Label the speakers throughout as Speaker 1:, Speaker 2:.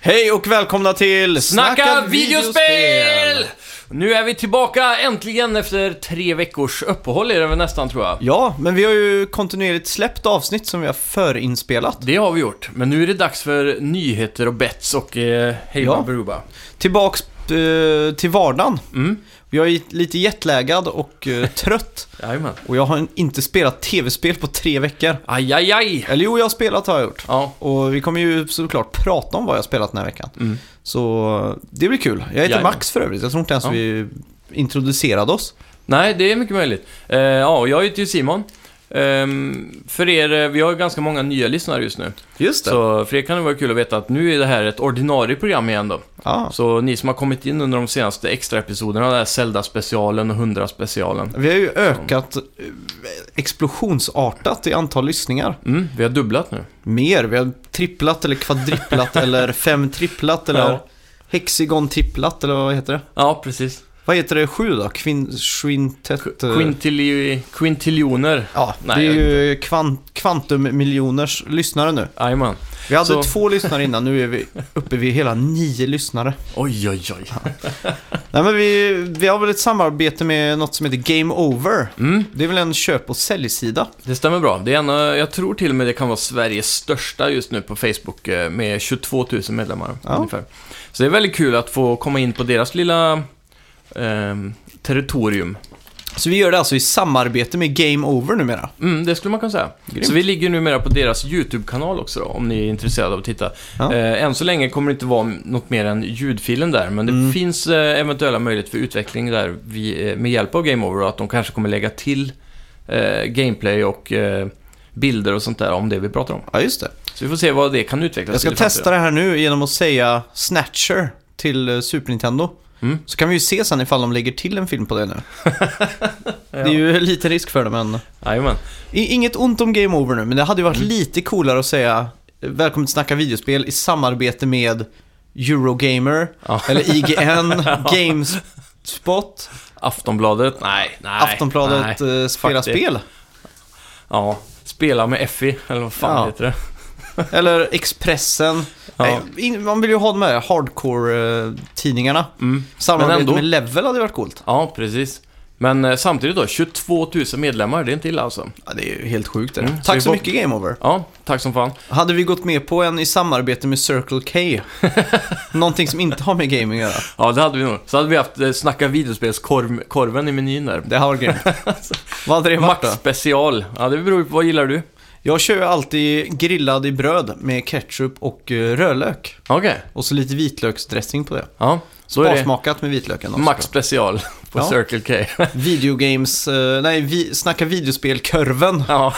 Speaker 1: Hej och välkomna till
Speaker 2: Snacka videospel! Nu är vi tillbaka äntligen efter tre veckors uppehåll är det väl nästan tror jag.
Speaker 1: Ja, men vi har ju kontinuerligt släppt avsnitt som vi har förinspelat.
Speaker 2: Det har vi gjort, men nu är det dags för nyheter och bets och eh, hej
Speaker 1: Ja.
Speaker 2: Baruba.
Speaker 1: Tillbaks eh, till vardagen.
Speaker 2: Mm.
Speaker 1: Jag är lite jetlaggad och eh, trött.
Speaker 2: Jajamän.
Speaker 1: Och jag har inte spelat tv-spel på tre veckor.
Speaker 2: Aj, aj, aj.
Speaker 1: Eller jo, jag har spelat har jag gjort.
Speaker 2: Ja,
Speaker 1: Och vi kommer ju såklart prata om vad jag har spelat den här veckan.
Speaker 2: Mm.
Speaker 1: Så eh, det blir kul. Jag heter
Speaker 2: Jajamän.
Speaker 1: Max för övrigt. Jag tror inte ens
Speaker 2: Ja.
Speaker 1: vi introducerade oss.
Speaker 2: nej det är mycket möjligt. Eh, ja, och jag heter ju Simon. Ehm, för er, eh, vi har ju ganska många nya lyssnare just nu.
Speaker 1: Just
Speaker 2: Så för er kan det vara kul att veta att nu är det här ett ordinarie program igen då.
Speaker 1: Ja.
Speaker 2: Så ni som har kommit in under de senaste extra episoderna, den här Zelda-specialen och 100-specialen.
Speaker 1: Vi har ju ökat eh, explosionsartat i antal lyssningar.
Speaker 2: Mm, vi har dubblat nu.
Speaker 1: Mer, vi har tripplat eller kvadripplat eller femtripplat eller
Speaker 2: Ja.
Speaker 1: hexagontripplat eller vad heter det?
Speaker 2: Ja, precis.
Speaker 1: Vad heter det sju då? Kvin... Quintet... eh,
Speaker 2: Quintili- Quintiljoner.
Speaker 1: Ja,
Speaker 2: Nej,
Speaker 1: det är
Speaker 2: jag
Speaker 1: ju kvan- kvantummiljoners lyssnare nu.
Speaker 2: Jajamän.
Speaker 1: Vi hade
Speaker 2: Så-
Speaker 1: två lyssnare innan, nu är vi uppe vid hela nio lyssnare.
Speaker 2: Oj, oj, oj.
Speaker 1: Nej men vi, vi har väl ett samarbete med något som heter Game Over.
Speaker 2: Mm,
Speaker 1: Det är väl en köp och säljsida?
Speaker 2: det stämmer bra. Det är en, eh, jag tror till och med det kan vara Sveriges största just nu på Facebook eh, med 22 000 medlemmar
Speaker 1: Ja.
Speaker 2: ungefär. Så det är väldigt kul att få komma in på deras lilla ehm, territorium.
Speaker 1: Så vi gör det alltså i samarbete med Game Over numera.
Speaker 2: Mm, det skulle man kunna säga.
Speaker 1: Grymt.
Speaker 2: Så vi ligger numera på deras YouTube-kanal också då, om ni är intresserade av att titta.
Speaker 1: Ja.
Speaker 2: Eh, än så länge kommer det inte vara något mer än ljudfilen där, men det
Speaker 1: Mm.
Speaker 2: finns eh, eventuella möjligheter för utveckling där vi, eh, med hjälp av Game Over och att de kanske kommer lägga till eh, gameplay och eh, bilder och sånt där om det vi pratar om.
Speaker 1: Ja, just det.
Speaker 2: Så vi får se vad det kan utvecklas
Speaker 1: Jag ska
Speaker 2: till i
Speaker 1: testa det här nu genom att säga Snatcher till eh, Super Nintendo.
Speaker 2: Mm.
Speaker 1: Så kan vi ju se sen ifall de lägger till en film på det nu. Det är
Speaker 2: framtiden.
Speaker 1: ju lite risk för det, men...
Speaker 2: Ja. Jajamän.
Speaker 1: I- Inget ont om Game Over nu, men det hade ju varit lite coolare att säga eh, Välkommen till Snacka videospel i samarbete med Eurogamer,
Speaker 2: Ja.
Speaker 1: eller IGN, Gamespot,
Speaker 2: Aftonbladet? Nej, nej.
Speaker 1: Aftonbladet,
Speaker 2: Nej.
Speaker 1: eh, Spela
Speaker 2: Fuck det.
Speaker 1: Spel.
Speaker 2: Ja. Spela med Effie, eller vad fan
Speaker 1: Ja.
Speaker 2: heter det?
Speaker 1: Eller Expressen.
Speaker 2: Ja.
Speaker 1: Nej, in- man vill ju ha de här eh, hardcore-tidningarna.
Speaker 2: Mm.
Speaker 1: Samarbete
Speaker 2: Men ändå.
Speaker 1: med Level hade ju varit coolt.
Speaker 2: Ja, precis. Men eh, samtidigt då, 22 000 medlemmar, det är inte illa alltså.
Speaker 1: Ja, det är ju helt sjukt. det.
Speaker 2: Mm, så
Speaker 1: Tack
Speaker 2: vi
Speaker 1: så
Speaker 2: får-
Speaker 1: mycket Game Over.
Speaker 2: Ja, tack som fan.
Speaker 1: Hade vi gått med på en i samarbete med Circle K, någonting som inte har med gaming att göra,
Speaker 2: Ja, det hade vi nog. Så hade vi haft eh, Snacka videospelskorven i menyn där.
Speaker 1: det hade varit grymt. Vad hade det varit
Speaker 2: Max
Speaker 1: då?
Speaker 2: special. Ja, det beror ju på, vad gillar du?
Speaker 1: Jag kör ju alltid grillad i bröd med ketchup och eh, rödlök.
Speaker 2: Okej.
Speaker 1: Och så lite vitlöksdressing på det.
Speaker 2: Ja, så är det
Speaker 1: Sparsmakat med vitlöken också.
Speaker 2: Max special på
Speaker 1: Ja.
Speaker 2: Circle K.
Speaker 1: Videogames, eh, nej, vi, snacka videospel-körven.
Speaker 2: ja,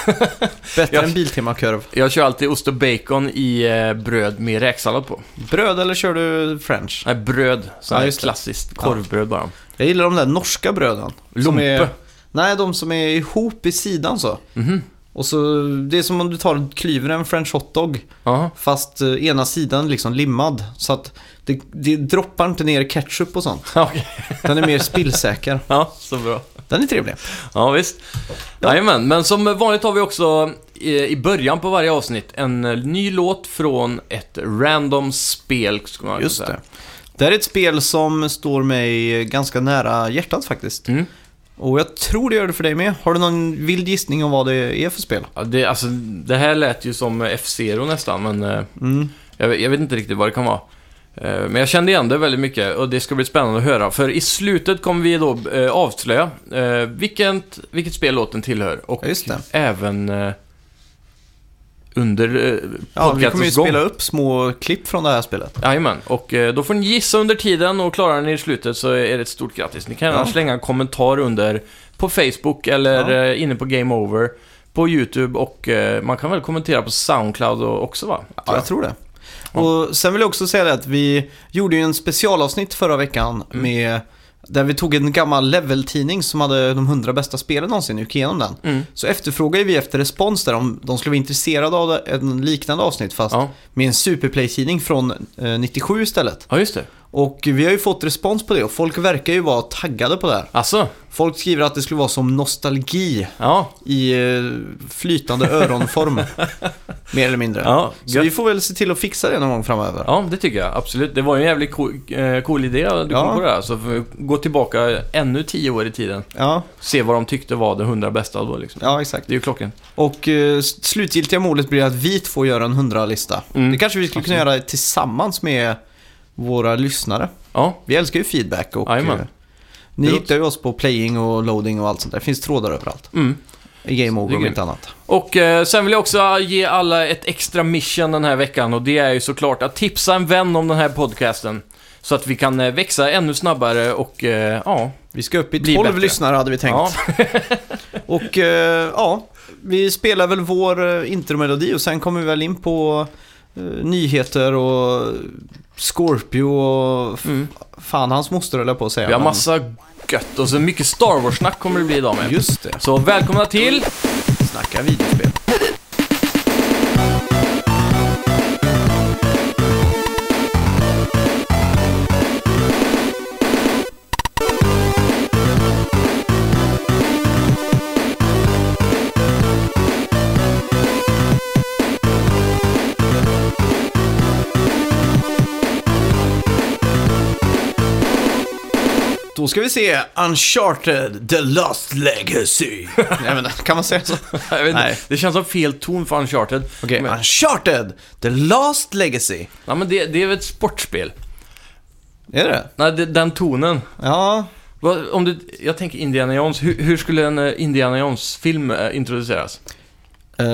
Speaker 1: Bättre
Speaker 2: Jag-
Speaker 1: än Biltema-körv.
Speaker 2: jag kör alltid ost och bacon i eh, bröd med räksallad på.
Speaker 1: Bröd eller kör du french?
Speaker 2: Nej, bröd. Så
Speaker 1: Ja,
Speaker 2: här
Speaker 1: just det.
Speaker 2: klassiskt korvbröd bara.
Speaker 1: Jag gillar de där norska bröden. som
Speaker 2: Lompe.
Speaker 1: Är, nej, de som är ihop i sidan så.
Speaker 2: Mhm.
Speaker 1: Och så, det är som om du tar klyver en french hotdog
Speaker 2: Ja,
Speaker 1: fast eh, ena sidan liksom limmad. Så att det, det droppar inte ner ketchup och sånt.
Speaker 2: okej.
Speaker 1: Den är mer spillsäker.
Speaker 2: Ja, så bra.
Speaker 1: Den är trevlig.
Speaker 2: Ja, visst. Jajamän, men som vanligt har vi också eh, i början på varje avsnitt en eh, ny låt från ett random spel. skulle man kunna
Speaker 1: Just
Speaker 2: säga.
Speaker 1: det. Det här är ett spel som står mig ganska nära hjärtat faktiskt.
Speaker 2: Mm.
Speaker 1: Och jag tror det gör det för dig med. Har du någon vild gissning om vad det är för spel?
Speaker 2: Ja, det, alltså, det här lät ju som eh, F-Zero nästan, men eh,
Speaker 1: Mm.
Speaker 2: jag, vet- jag vet inte riktigt vad det kan vara. Eh, men jag kände igen det väldigt mycket och det ska bli spännande att höra. För i slutet kommer vi då eh, avslöja eh, vilket, vilket spel låten tillhör och
Speaker 1: Ja, just det.
Speaker 2: även eh, under eh,
Speaker 1: Ja, vi kommer ju
Speaker 2: gång.
Speaker 1: spela upp små klipp från det här spelet.
Speaker 2: Jajamän, och eh, då får ni gissa under tiden och klarar ni i slutet så är det ett stort grattis. Ni kan
Speaker 1: Ja.
Speaker 2: annars slänga en kommentar under på Facebook eller
Speaker 1: Ja.
Speaker 2: eh, inne på Game Over, på YouTube och eh, man kan väl kommentera på Soundcloud och- också va?
Speaker 1: Ja, jag tror det.
Speaker 2: Ja.
Speaker 1: Och sen vill jag också säga det att vi gjorde ju en specialavsnitt förra veckan
Speaker 2: Mm.
Speaker 1: med där vi tog en gammal level-tidning som hade de 100 bästa spelen någonsin och gick igenom den.
Speaker 2: Mm.
Speaker 1: Så efterfrågade vi efter respons där om de skulle vara intresserade av en liknande avsnitt fast
Speaker 2: Ja.
Speaker 1: med en Superplay-tidning från eh, 97 istället.
Speaker 2: ja, just det.
Speaker 1: Och vi har ju fått respons på det och folk verkar ju vara taggade på det här.
Speaker 2: Alltså,
Speaker 1: Folk skriver att det skulle vara som nostalgi
Speaker 2: ja.
Speaker 1: i eh, flytande öronform. mer eller mindre.
Speaker 2: Ja,
Speaker 1: Så
Speaker 2: gött.
Speaker 1: vi får väl se till att fixa det någon gång framöver.
Speaker 2: ja, det tycker jag. Absolut. Det var ju en jävligt cool, eh, cool idé du
Speaker 1: Ja.
Speaker 2: kom på det här. Så får vi gå tillbaka ännu tio år i tiden.
Speaker 1: Ja,
Speaker 2: Se vad de tyckte var de hundra bästa då liksom.
Speaker 1: ja exakt.
Speaker 2: Det är ju klockan.
Speaker 1: Och eh, s- slutgiltiga målet blir att vi två gör en 100-lista.
Speaker 2: Mm.
Speaker 1: Det kanske vi skulle kunna göra tillsammans med våra lyssnare.
Speaker 2: Ja,
Speaker 1: Vi älskar ju feedback och
Speaker 2: Jajamän.
Speaker 1: eh, ni
Speaker 2: Det
Speaker 1: hittar ju oss på playing och loading och allt sånt där. Det finns trådar överallt.
Speaker 2: mm.
Speaker 1: I Game
Speaker 2: Det är
Speaker 1: Over om
Speaker 2: grymt.
Speaker 1: inte annat.
Speaker 2: Och eh, sen vill jag också ge alla ett extra mission den här veckan och det är ju såklart att tipsa en vän om den här podcasten. Så att vi kan eh, växa ännu snabbare och eh, ja,
Speaker 1: Vi ska upp i
Speaker 2: Bli
Speaker 1: 12
Speaker 2: bättre.
Speaker 1: lyssnare hade vi tänkt.
Speaker 2: ja,
Speaker 1: Och eh, ja, vi spelar väl vår eh, intromelodi och sen kommer vi väl in på eh, nyheter och Scorpio och f-
Speaker 2: Mm.
Speaker 1: fan hans moster höll jag på att säga.
Speaker 2: vi har
Speaker 1: men-
Speaker 2: massa gött och så mycket Star Wars-snack kommer det bli idag med.
Speaker 1: Just det,
Speaker 2: Så välkomna till
Speaker 1: snacka videospel. Då ska vi se Uncharted The Lost Legacy. Nej, men, kan man säga så?
Speaker 2: Jag vet
Speaker 1: Nej.
Speaker 2: inte, det känns som fel ton för Uncharted.
Speaker 1: Okej,
Speaker 2: Men,
Speaker 1: Uncharted The Last Legacy.
Speaker 2: ja, men det, det är väl ett sportspel?
Speaker 1: Är det
Speaker 2: Nej, det, den tonen.
Speaker 1: Ja,
Speaker 2: Vad- Om du, jag tänker Indiana Jones, hur, hur skulle en eh, Indiana Jones-film eh, introduceras?
Speaker 1: eh,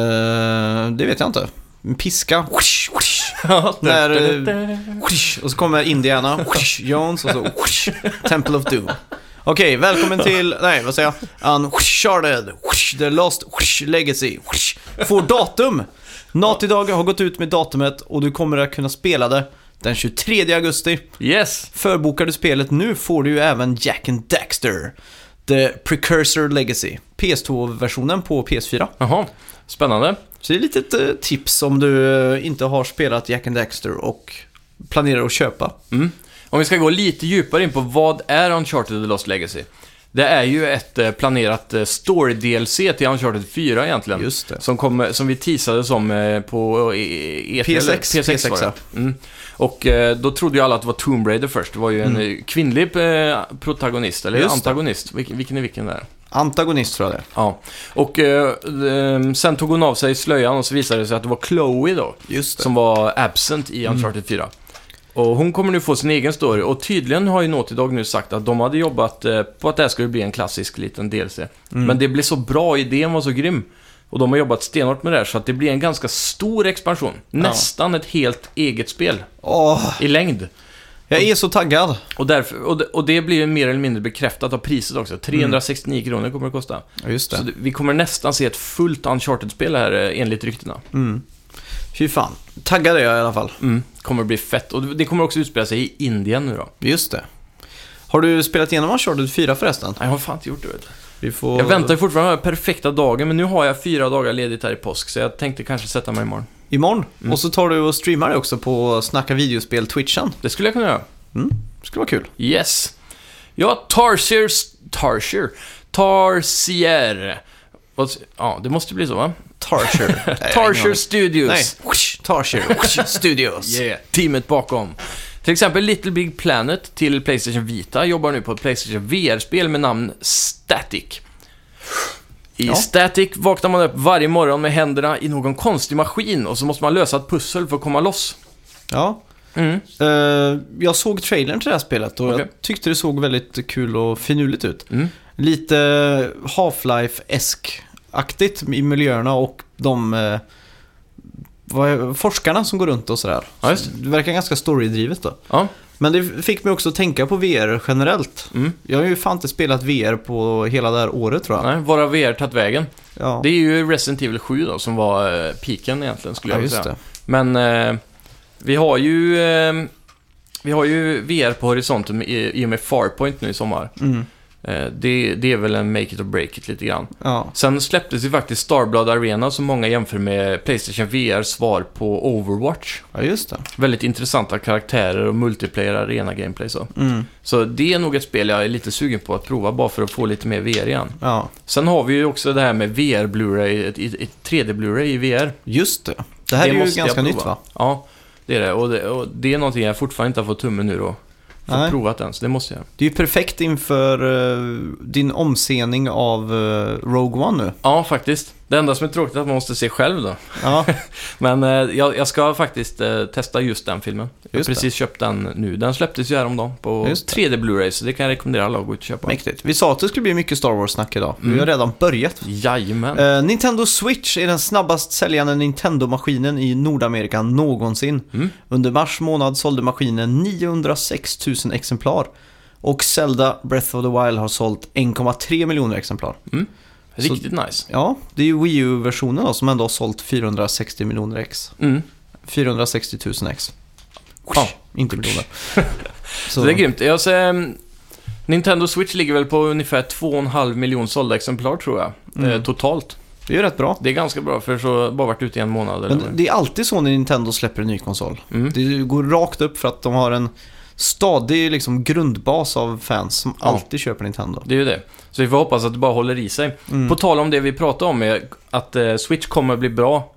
Speaker 1: det vet jag inte. En piska. Whoosh, whoosh, När, eh, whoosh, och så kommer Indiana, whoosh, Jones och så whoosh, Temple of Doom. Okej, välkommen till, nej vad säger jag? Uncharted whoosh, The Lost whoosh, Legacy. Whoosh, får datum! Naughty Dog har gått ut med datumet och du kommer att kunna spela det den 23 augusti.
Speaker 2: Yes!
Speaker 1: Förbokar du spelet nu får du ju även Jack and Daxter. The Precursor Legacy. PS2-versionen på PS4.
Speaker 2: Jaha, spännande.
Speaker 1: Så det är ett litet eh, tips om du eh, inte har spelat Jack and Daxter och planerar att köpa.
Speaker 2: Om vi ska gå lite djupare in på vad är Uncharted The Lost Legacy? Det är ju ett eh, planerat eh, story-DLC till Uncharted 4 egentligen.
Speaker 1: Just det.
Speaker 2: Som, kom, som vi teasade som eh, på eh, E3, eller?
Speaker 1: PSX,
Speaker 2: PSX var det. Mm. Och eh, då trodde ju alla att det var Tomb Raider först. Det var ju en eh, kvinnlig eh, protagonist, eller
Speaker 1: Mm. Just det.
Speaker 2: antagonist. Vilken, vilken är vilken där?
Speaker 1: Antagonist tror jag det
Speaker 2: Ja. Och eh, ehm, sen tog hon av sig slöjan och så visade det sig att det var Chloe då.
Speaker 1: är. Just
Speaker 2: Som var absent i Uncharted 4. Och hon kommer nu få sin egen story och tydligen har ju Naughty Dog nu sagt att de hade jobbat eh, på att det här skulle bli en klassisk liten DLC. Men det blev så bra, idén var så grym. Och de har jobbat stenhårt med det här så att det blir en ganska stor expansion. Nästan ett helt eget spel
Speaker 1: Åh,
Speaker 2: i längd.
Speaker 1: jag är så taggad.
Speaker 2: Och, därför, och, det, och det blir ju mer eller mindre bekräftat av priset också. 369 kronor kommer det kosta.
Speaker 1: Ja, just
Speaker 2: Så det, vi kommer nästan se ett fullt Uncharted-spel här eh, enligt ryktena.
Speaker 1: Mm. Fy fan. Taggad är jag i alla fall.
Speaker 2: Mm. Kommer bli fett. Och det kommer också utspela sig i Indien nu då.
Speaker 1: Just det. Har du spelat igenom Uncharted 4 förresten?
Speaker 2: Nej, jag har fan inte gjort det. Vet du.
Speaker 1: Vi får...
Speaker 2: Jag väntar ju fortfarande på den här perfekta dagen, men nu har jag fyra dagar ledigt här i påsk, så jag tänkte kanske sätta mig imorgon.
Speaker 1: Imorgon. Och så tar du och streamar det också på Snacka videospel-twitchen. Mm,
Speaker 2: Det skulle jag kunna göra.
Speaker 1: Skulle vara kul.
Speaker 2: Yes. Ja, Tarsier... Tarsier? Tarsier. Vad s- Ja, det måste bli så, va?
Speaker 1: Tarcher. Nej,
Speaker 2: Tarsier Studios.
Speaker 1: Nej, Whoosh, Tarsier whoosh, Studios.
Speaker 2: Yeah, teamet bakom. Till exempel Little Big Planet till Playstation Vita jobbar nu på ett Playstation VR-spel med namn Static. I
Speaker 1: Ja.
Speaker 2: Static vaknar man upp varje morgon med händerna i någon konstig maskin och så måste man lösa ett pussel för att komma loss.
Speaker 1: Ja.
Speaker 2: Mm.
Speaker 1: Eh, jag såg trailern till det här spelet och
Speaker 2: Okej.
Speaker 1: jag tyckte det såg väldigt kul och finurligt ut.
Speaker 2: Mm.
Speaker 1: Lite Half-Life-esk-aktigt i miljöerna och de eh, vad är- forskarna som går runt och sådär.
Speaker 2: Ja, just
Speaker 1: det verkar ganska storydrivet då.
Speaker 2: Ja,
Speaker 1: Men det fick mig också att tänka på VR generellt.
Speaker 2: Mm.
Speaker 1: Jag har ju fan inte spelat VR på hela det här året tror jag.
Speaker 2: nej, var har VR tagit vägen?
Speaker 1: Ja,
Speaker 2: Det är ju Resident Evil 7 då, som var eh, piken egentligen, skulle
Speaker 1: ja,
Speaker 2: jag
Speaker 1: just
Speaker 2: säga.
Speaker 1: det.
Speaker 2: Men eh, vi har ju... Eh, vi har ju VR på horisonten i i och med Farpoint nu i sommar.
Speaker 1: Mm.
Speaker 2: Eh, det, det är väl en make it or break it lite grann.
Speaker 1: Ja.
Speaker 2: Sen släpptes ju faktiskt Starblood Arena som många jämför med Playstation VR svar på Overwatch.
Speaker 1: ja, just det.
Speaker 2: Väldigt intressanta karaktärer och multiplayer arena gameplay så.
Speaker 1: Mm.
Speaker 2: Så det är nog ett spel jag är lite sugen på att prova bara för att få lite mer VR igen.
Speaker 1: Ja,
Speaker 2: Sen har vi ju också det här med VR Blu-ray, ett, ett, ett 3D Blu-ray i VR.
Speaker 1: just det. Det här
Speaker 2: Det
Speaker 1: är ju
Speaker 2: måste jag
Speaker 1: ganska
Speaker 2: prova.
Speaker 1: nytt va?
Speaker 2: Ja, det är det. Och det, och det är någonting jag fortfarande inte har fått tummen nu då. Fått
Speaker 1: Nej.
Speaker 2: provat än, så det måste jag.
Speaker 1: Det är ju perfekt inför eh, din omscening av eh, Rogue One nu.
Speaker 2: Ja, faktiskt. Det enda som är tråkigt är att man måste se själv då.
Speaker 1: Ja,
Speaker 2: Men eh, jag, jag ska faktiskt eh, testa just den filmen. jag har
Speaker 1: Just det.
Speaker 2: precis köpt den nu. Den släpptes ju häromdagen på
Speaker 1: Just det.
Speaker 2: 3D Blu-ray, så det kan jag rekommendera alla att gå ut och köpa.
Speaker 1: mäktigt. Vi sa att det skulle bli mycket Star Wars-snack idag. Vi har
Speaker 2: Mm.
Speaker 1: redan börjat.
Speaker 2: Jajamän.
Speaker 1: Eh, Nintendo Switch är den snabbast säljande Nintendo-maskinen i Nordamerika någonsin.
Speaker 2: Mm.
Speaker 1: Under mars månad sålde maskinen 906 000 exemplar. Och Zelda Breath of the Wild har sålt 1,3 miljoner exemplar.
Speaker 2: Riktigt nice.
Speaker 1: Ja, det är ju Wii U-versionen då som ändå har sålt 460 miljoner ex.
Speaker 2: Mm.
Speaker 1: 460 000 ex.
Speaker 2: Ja.
Speaker 1: Inte miljoner.
Speaker 2: Så det är grymt. Jag ser, ehm, Nintendo Switch ligger väl på ungefär 2,5 miljon sålda exemplar tror jag.
Speaker 1: Mm.
Speaker 2: Eh, totalt.
Speaker 1: Det är ju rätt bra.
Speaker 2: Det är ganska bra för så bara varit ute i en månad eller
Speaker 1: Men
Speaker 2: vad.
Speaker 1: det är alltid så när Nintendo släpper en ny konsol.
Speaker 2: mm.
Speaker 1: Det går rakt upp för att de har en stadig liksom, grundbas av fans som
Speaker 2: Ja.
Speaker 1: alltid köper Nintendo.
Speaker 2: Det är ju det. Så vi får hoppas att det bara håller i sig.
Speaker 1: Mm.
Speaker 2: På tal om det vi pratade om, är att eh, Switch kommer bli bra,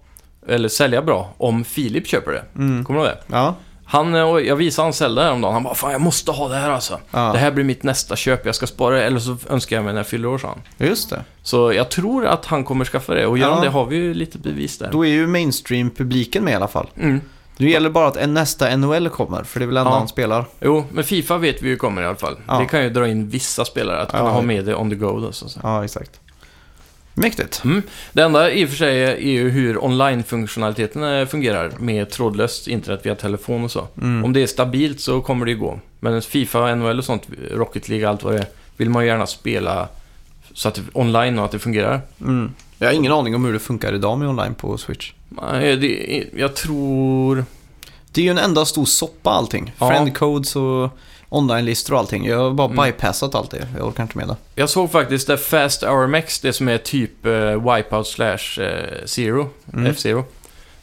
Speaker 2: eller sälja bra, om Filip köper det.
Speaker 1: Mm.
Speaker 2: Kommer du ihåg det?
Speaker 1: Ja,
Speaker 2: Han, eh, och jag visade han Zelda häromdagen, han bara 'Fan, jag måste ha det här alltså.
Speaker 1: Ja.
Speaker 2: Det här blir mitt nästa köp, jag ska spara det, eller så önskar jag mig när jag fyller år, sa han.
Speaker 1: just det.
Speaker 2: Så jag tror att han kommer skaffa det, och gör han
Speaker 1: Ja.
Speaker 2: det har vi ju lite bevis där.
Speaker 1: Då är ju mainstream-publiken med i alla fall.
Speaker 2: Mm.
Speaker 1: Det gäller bara att en nästa NHL kommer, för det är väl enda
Speaker 2: Ja.
Speaker 1: han spelar.
Speaker 2: Jo, men Fifa vet vi ju kommer i alla fall.
Speaker 1: Ja.
Speaker 2: Det kan ju dra in vissa spelare att kunna
Speaker 1: Ja.
Speaker 2: ha med det on the go då, så att säga.
Speaker 1: Ja, exakt. Mäktigt.
Speaker 2: Mm. Det enda i och för sig är ju hur online-funktionaliteten eh, fungerar med trådlöst internet via telefon och så.
Speaker 1: Mm.
Speaker 2: Om det är stabilt så kommer det ju gå. Men Fifa, NHL och sånt, Rocket League, allt vad det är, vill man ju gärna spela så att det, online och att det fungerar.
Speaker 1: Mm. Jag har ingen aning om hur det funkar idag med online på Switch.
Speaker 2: Nej, Eh, det, jag tror...
Speaker 1: Det är ju en enda stor soppa allting.
Speaker 2: Ja.
Speaker 1: Friend codes och online-listor och allting. Jag har bara
Speaker 2: Mm.
Speaker 1: bypassat allt det. Jag orkar inte med det.
Speaker 2: Jag såg faktiskt det Fast RMX, det som är typ eh, Wipeout slash eh, Zero,
Speaker 1: Mm.
Speaker 2: F-Zero.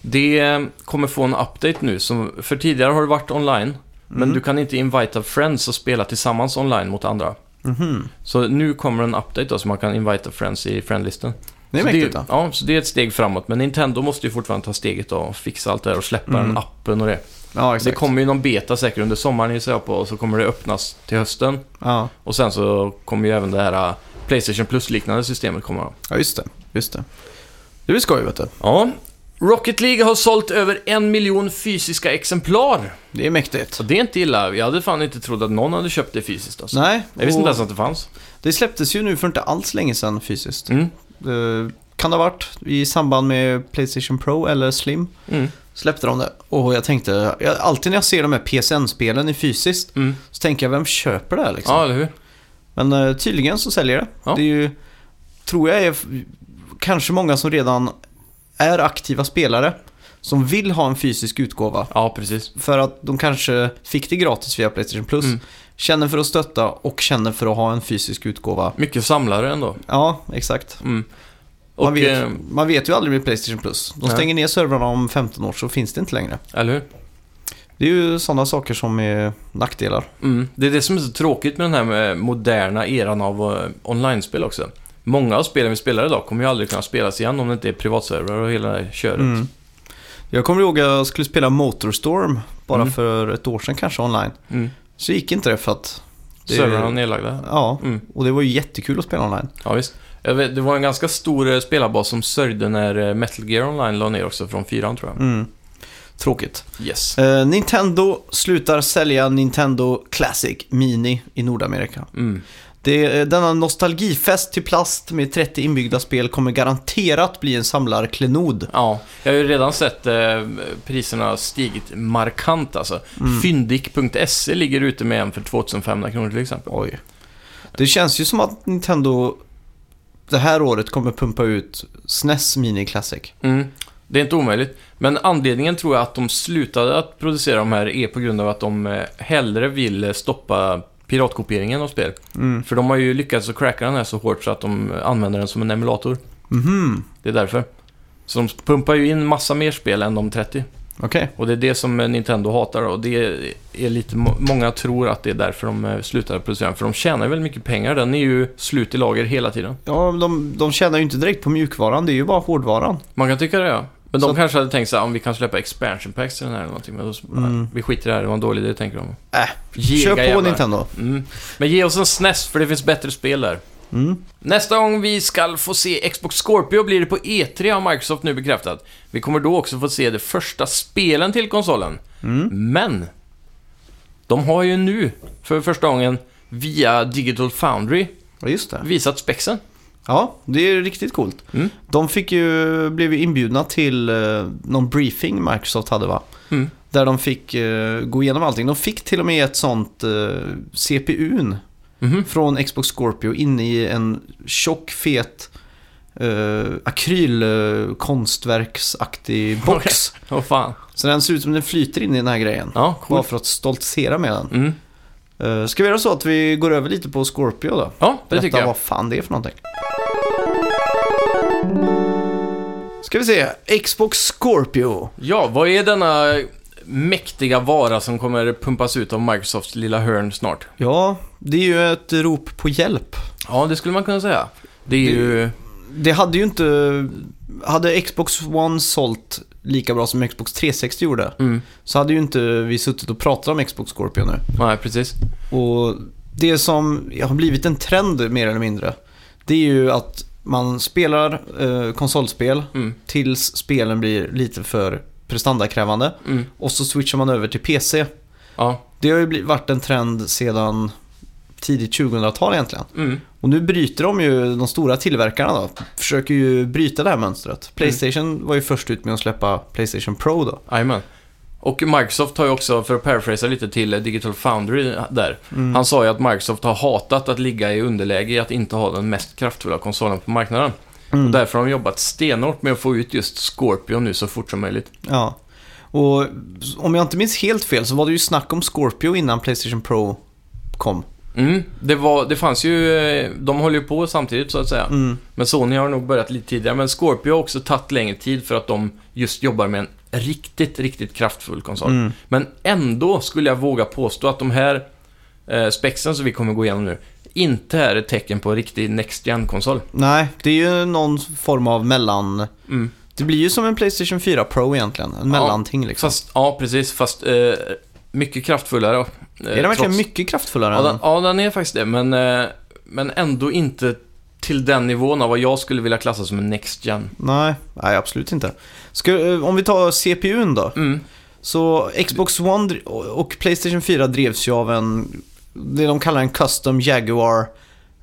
Speaker 2: Det eh, kommer få en update nu, som, för tidigare har det varit online. Men
Speaker 1: Mm.
Speaker 2: du kan inte invita friends och spela tillsammans online mot andra.
Speaker 1: Mhm.
Speaker 2: Så nu kommer en update då, så man kan invita friends i friendlisten.
Speaker 1: Det är
Speaker 2: så
Speaker 1: mäktigt
Speaker 2: det,
Speaker 1: då.
Speaker 2: Ja, så det är ett steg framåt. Men Nintendo måste ju fortfarande ta steget då och fixa allt det här och släppa
Speaker 1: Mm.
Speaker 2: den appen och det.
Speaker 1: Ja, exakt.
Speaker 2: Det kommer ju någon beta säkert under sommaren gissar jag på och så kommer det öppnas till hösten.
Speaker 1: ja.
Speaker 2: Och sen så kommer ju även det här eh, Playstation Plus-liknande systemet komma. då.
Speaker 1: ja, just det. Just det. Det blir skoj, vet du.
Speaker 2: Ja. Rocket League har sålt över en miljon fysiska exemplar.
Speaker 1: Det är mäktigt.
Speaker 2: Så det är inte illa. Jag hade fan inte trott att någon hade köpt det fysiskt alltså.
Speaker 1: Nej,
Speaker 2: Jag visste inte
Speaker 1: och
Speaker 2: ens att det fanns.
Speaker 1: det släpptes ju nu för inte alls länge sedan fysiskt.
Speaker 2: Mm.
Speaker 1: Eh, Kan det ha varit i samband med Playstation Pro eller Slim?
Speaker 2: Mm.
Speaker 1: Släppte de det. Och jag tänkte, jag, alltid när jag ser de här PSN-spelen i fysiskt
Speaker 2: Mm.
Speaker 1: så tänker jag, vem köper det här liksom?
Speaker 2: Ja, eller hur?
Speaker 1: Men eh, tydligen så säljer det.
Speaker 2: Ja.
Speaker 1: Det är ju, tror jag är f- kanske många som redan är aktiva spelare som vill ha en fysisk utgåva.
Speaker 2: Ja, precis.
Speaker 1: För att de kanske fick det gratis via Playstation Plus.
Speaker 2: Mm.
Speaker 1: Känner för att stötta och känner för att ha en fysisk utgåva.
Speaker 2: Mycket samlare ändå.
Speaker 1: Ja, exakt.
Speaker 2: Mm. Och,
Speaker 1: Man, vet,
Speaker 2: eh,
Speaker 1: man vet ju aldrig med Playstation Plus. De
Speaker 2: Nej.
Speaker 1: stänger ner servrarna om 15 år så finns det inte längre.
Speaker 2: eller hur?
Speaker 1: Det är ju sådana saker som är nackdelar.
Speaker 2: Mm. Det är det som är så tråkigt med den här med moderna eran av eh, online-spel också. Många av spelen vi spelar idag kommer ju aldrig kunna spelas igen om det inte är privatservrar och hela det här köret.
Speaker 1: Mm. Jag kommer ihåg att jag skulle spela Motorstorm bara
Speaker 2: Mm.
Speaker 1: för ett år sedan kanske online.
Speaker 2: Mm.
Speaker 1: Så gick inte det för att... det-
Speaker 2: Servrarna är nedlagda.
Speaker 1: Ja,
Speaker 2: Mm.
Speaker 1: och det var ju jättekul att spela online.
Speaker 2: Ja, visst. Jag vet, det var en ganska stor eh, spelarbas som sörjde när eh, Metal Gear Online la ner också från fyran tror jag.
Speaker 1: Mm. Tråkigt.
Speaker 2: Yes.
Speaker 1: Eh, Nintendo slutar sälja Nintendo Classic Mini i Nordamerika.
Speaker 2: Mm.
Speaker 1: Det, eh, denna nostalgifest till plast med 30 inbyggda spel kommer garanterat bli en samlarklenod.
Speaker 2: Ja, jag har ju redan sett eh, priserna stigit markant alltså. Fyndik.se E ligger ute med en för 2500 kronor till exempel.
Speaker 1: Oj. Det känns ju som att Nintendo det här året kommer pumpa ut SNES Mini Classic.
Speaker 2: Mm. Det är inte omöjligt. Men anledningen tror jag att de slutade att producera de här är på grund av att de eh, hellre vill eh, stoppa piratkopieringen av spel.
Speaker 1: Mm.
Speaker 2: För de har ju lyckats att cracka den här så hårt så att de använder den som en emulator.
Speaker 1: Mhm.
Speaker 2: Det är därför. Så de pumpar ju in massa mer spel än de 30.
Speaker 1: Okej.
Speaker 2: Och det är det som eh, Nintendo hatar och det är lite, må- många tror att det är därför de eh, slutade producera den. För de tjänar väldigt mycket pengar. Den är ju slut i lager hela tiden.
Speaker 1: Ja, men de, de tjänar ju inte direkt på mjukvaran, det är ju bara hårdvaran.
Speaker 2: Man kan tycka det ja. Men de
Speaker 1: Så-
Speaker 2: kanske hade tänkt så här, om vi kan släppa expansion packs till den här eller någonting. Men då, så-
Speaker 1: Mm.
Speaker 2: vi skiter i det här, det var en dålig idé tänker de.
Speaker 1: Äh,
Speaker 2: Gega
Speaker 1: Kör på
Speaker 2: jävlar.
Speaker 1: Nintendo.
Speaker 2: Mm. Men ge oss en SNES för det finns bättre spel där.
Speaker 1: Mm.
Speaker 2: Nästa gång vi ska få se Xbox Scorpio blir det på E3 har Microsoft nu bekräftat. Vi kommer då också få se de första spelen till konsolen. Men! De har ju nu, för första gången, via Digital Foundry
Speaker 1: Ja, just det.
Speaker 2: visat spexen.
Speaker 1: Ja, det är riktigt coolt.
Speaker 2: Mm.
Speaker 1: De fick ju, blev ju inbjudna till eh, någon briefing Microsoft hade va?
Speaker 2: Mm.
Speaker 1: Där de fick eh, gå igenom allting. De fick till och med ett sånt eh, CPUn
Speaker 2: Mhm.
Speaker 1: från Xbox Scorpio inne i en tjock fet eh, akrylkonstverksaktig box.
Speaker 2: Åh fan.
Speaker 1: Så den ser ut som den flyter in i den här grejen.
Speaker 2: Ja,
Speaker 1: Bara
Speaker 2: coolt.
Speaker 1: för att stoltsera med den.
Speaker 2: Mm.
Speaker 1: Eh, ska vi göra så att vi går över lite på Scorpio då?
Speaker 2: Ja, det
Speaker 1: Berätta
Speaker 2: tycker jag.
Speaker 1: vad fan det är för någonting. Ska vi se, Xbox Scorpio.
Speaker 2: Ja, vad är denna mäktiga vara som kommer pumpas ut av Microsofts lilla hörn snart?
Speaker 1: Ja, det är ju ett rop på hjälp.
Speaker 2: Ja, det skulle man kunna säga. Det är
Speaker 1: Det-
Speaker 2: ju...
Speaker 1: Det hade ju inte... Hade Xbox One sålt lika bra som Xbox 360 gjorde
Speaker 2: Mm.
Speaker 1: så hade ju inte vi suttit och pratat om Xbox Scorpio nu.
Speaker 2: Nej, precis.
Speaker 1: Och det som har blivit en trend mer eller mindre, det är ju att man spelar eh, konsolspel
Speaker 2: Mm.
Speaker 1: tills spelen blir lite för prestandakrävande
Speaker 2: Mm.
Speaker 1: och så switchar man över till PC.
Speaker 2: Ja.
Speaker 1: Det har ju bli- varit en trend sedan tidigt 2000-tal egentligen.
Speaker 2: Mm.
Speaker 1: Och nu bryter de ju, de stora tillverkarna då, försöker ju bryta det här
Speaker 2: Mm.
Speaker 1: mönstret. Playstation var ju först ut med att släppa Playstation Pro då.
Speaker 2: Jajamän. Och Microsoft har ju också, för att paraphrasa lite till Digital Foundry där. Han sa ju att Microsoft har hatat att ligga i underläge i att inte ha den mest kraftfulla konsolen på marknaden. Och därför har de jobbat stenhårt med att få ut just Scorpio nu så fort som möjligt.
Speaker 1: Ja. Och om jag inte minns helt fel så var det ju snack om Scorpio innan Playstation Pro kom.
Speaker 2: Mm, det, var, det fanns ju, eh, de håller ju på samtidigt så att säga.
Speaker 1: Mm.
Speaker 2: Men Sony har nog börjat lite tidigare, men Scorpio har också tagit längre tid för att de just jobbar med en riktigt, riktigt kraftfull konsol.
Speaker 1: Mm.
Speaker 2: Men ändå skulle jag våga påstå att de här eh, spexen som vi kommer gå igenom nu inte är ett tecken på en riktig Next Gen-konsol.
Speaker 1: Nej, det är ju någon form av mellan...
Speaker 2: Mm.
Speaker 1: Det blir ju som en Playstation 4 Pro egentligen. En
Speaker 2: Ja,
Speaker 1: mellanting liksom.
Speaker 2: Fast, ja precis, fast eh, mycket kraftfullare. Eh,
Speaker 1: är den verkligen mycket kraftfullare?
Speaker 2: Ja
Speaker 1: än-
Speaker 2: den, ja, den är faktiskt det, men, eh, men ändå inte till den nivån av vad jag skulle vilja klassa som en Next Gen.
Speaker 1: Nej, nej absolut inte. Ska, eh, om vi tar CPUn då.
Speaker 2: Mm.
Speaker 1: Så Xbox One dri- och Playstation 4 drevs ju av en, det de kallar en Custom Jaguar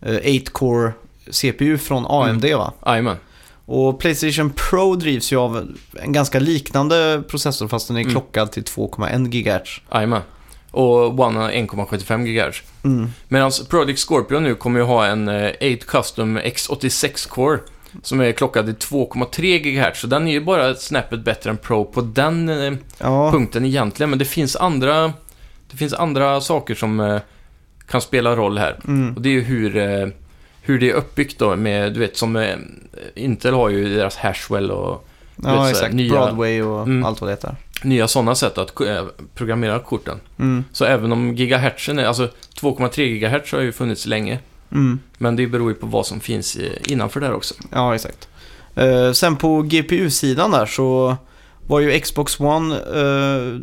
Speaker 1: eh, 8-core CPU från AMD
Speaker 2: Mm.
Speaker 1: va?
Speaker 2: Jajamän.
Speaker 1: Och Playstation Pro drivs ju av en ganska liknande processor fast den är
Speaker 2: Mm.
Speaker 1: klockad till 2,1 GHz.
Speaker 2: Jajamän. Och One har 1,75 GHz.
Speaker 1: Mm.
Speaker 2: Medan alltså, Project Scorpio nu kommer ju ha en eh, 8 Custom X86 Core som är klockad i 2,3 GHz. Så den är ju bara snäppet bättre än Pro på den eh,
Speaker 1: Ja,
Speaker 2: punkten egentligen. Men det finns andra, det finns andra saker som eh, kan spela roll här.
Speaker 1: mm.
Speaker 2: Och det är ju hur, eh, hur det är uppbyggt då med, du vet som eh, Intel har ju deras Hashwell och vet, så
Speaker 1: ja
Speaker 2: här,
Speaker 1: exakt.
Speaker 2: nya-
Speaker 1: Broadway och
Speaker 2: Mm.
Speaker 1: allt vad det heter.
Speaker 2: nya sådana sätt att eh, programmera korten.
Speaker 1: Mm.
Speaker 2: Så även om gigahertzen är, alltså 2,3 GHz har ju funnits länge.
Speaker 1: Mm.
Speaker 2: Men det beror ju på vad som finns i- innanför där också.
Speaker 1: Ja, exakt. Eh, sen på GPU-sidan där så var ju Xbox One eh,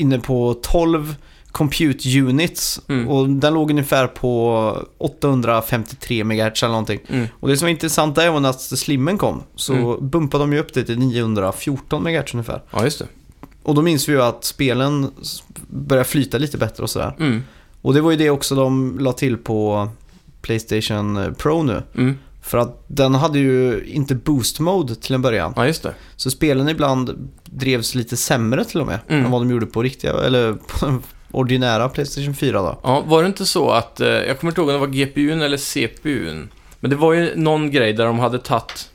Speaker 1: inne på 12 compute units
Speaker 2: Mm.
Speaker 1: och den låg ungefär på 853 MHz eller någonting.
Speaker 2: Mm.
Speaker 1: Och det som är intressant där var när slimmen kom så
Speaker 2: Mm.
Speaker 1: bumpade de ju upp det till 914 MHz ungefär.
Speaker 2: Ja, just det.
Speaker 1: Och då minns vi ju att spelen s- började flyta lite bättre och sådär.
Speaker 2: Mm.
Speaker 1: Och det var ju det också de la till på Playstation Pro nu.
Speaker 2: Mm.
Speaker 1: För att den hade ju inte boost mode till en början.
Speaker 2: Ja, just det.
Speaker 1: Så spelen ibland drevs lite sämre till och med.
Speaker 2: Mm.
Speaker 1: Än vad de gjorde på riktiga, eller på den ordinära Playstation 4 då.
Speaker 2: Ja, var det inte så att, eh, jag kommer inte ihåg om det var GPUn eller CPUn. Men det var ju någon grej där de hade tagit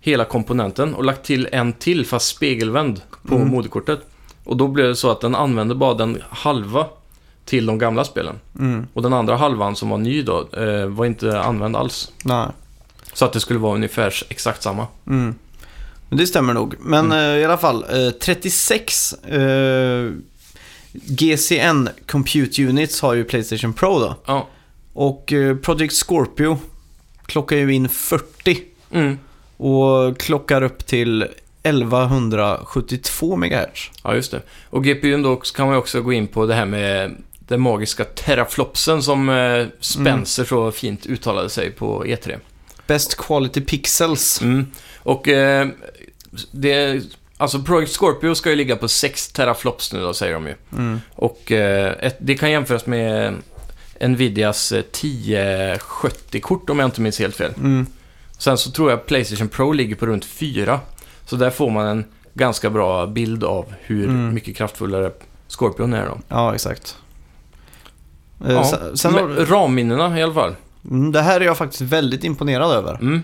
Speaker 2: hela komponenten och lagt till en till fast spegelvänd på
Speaker 1: Mm.
Speaker 2: moderkortet. Och då blev det så att den använde bara den halva till de gamla spelen.
Speaker 1: Mm.
Speaker 2: Och den andra halvan som var ny då eh, var inte använd alls.
Speaker 1: Nej.
Speaker 2: Så att det skulle vara ungefär exakt samma.
Speaker 1: Mm. Men det stämmer nog. Men eh, i alla fall, eh, 36 eh, GCN Compute Units har ju Playstation Pro då.
Speaker 2: Ja.
Speaker 1: Och eh, Project Scorpio klockar ju in 40
Speaker 2: Mm.
Speaker 1: och klockar upp till 1172 MHz.
Speaker 2: Ja, just det. Och GPUn då också- kan man ju också gå in på det här med den magiska teraflopsen som eh, Spencer så fint uttalade sig på E3.
Speaker 1: Best Quality Pixels.
Speaker 2: Mm. Och eh, det... Alltså Project Scorpio ska ju ligga på 6 teraflops nu då, säger de ju.
Speaker 1: Mm.
Speaker 2: Och eh, ett, det kan jämföras med Nvidias eh, 1070-kort om jag inte minns helt fel.
Speaker 1: Mm.
Speaker 2: Sen så tror jag Playstation Pro ligger på runt 4. Så där får man en ganska bra bild av hur
Speaker 1: Mm.
Speaker 2: mycket kraftfullare Scorpion är då.
Speaker 1: Ja, exakt. Eh,
Speaker 2: Ja,
Speaker 1: sen, sen har,
Speaker 2: Men RAM-minnena i alla fall.
Speaker 1: Mm, det här är jag faktiskt väldigt imponerad över.
Speaker 2: Mm.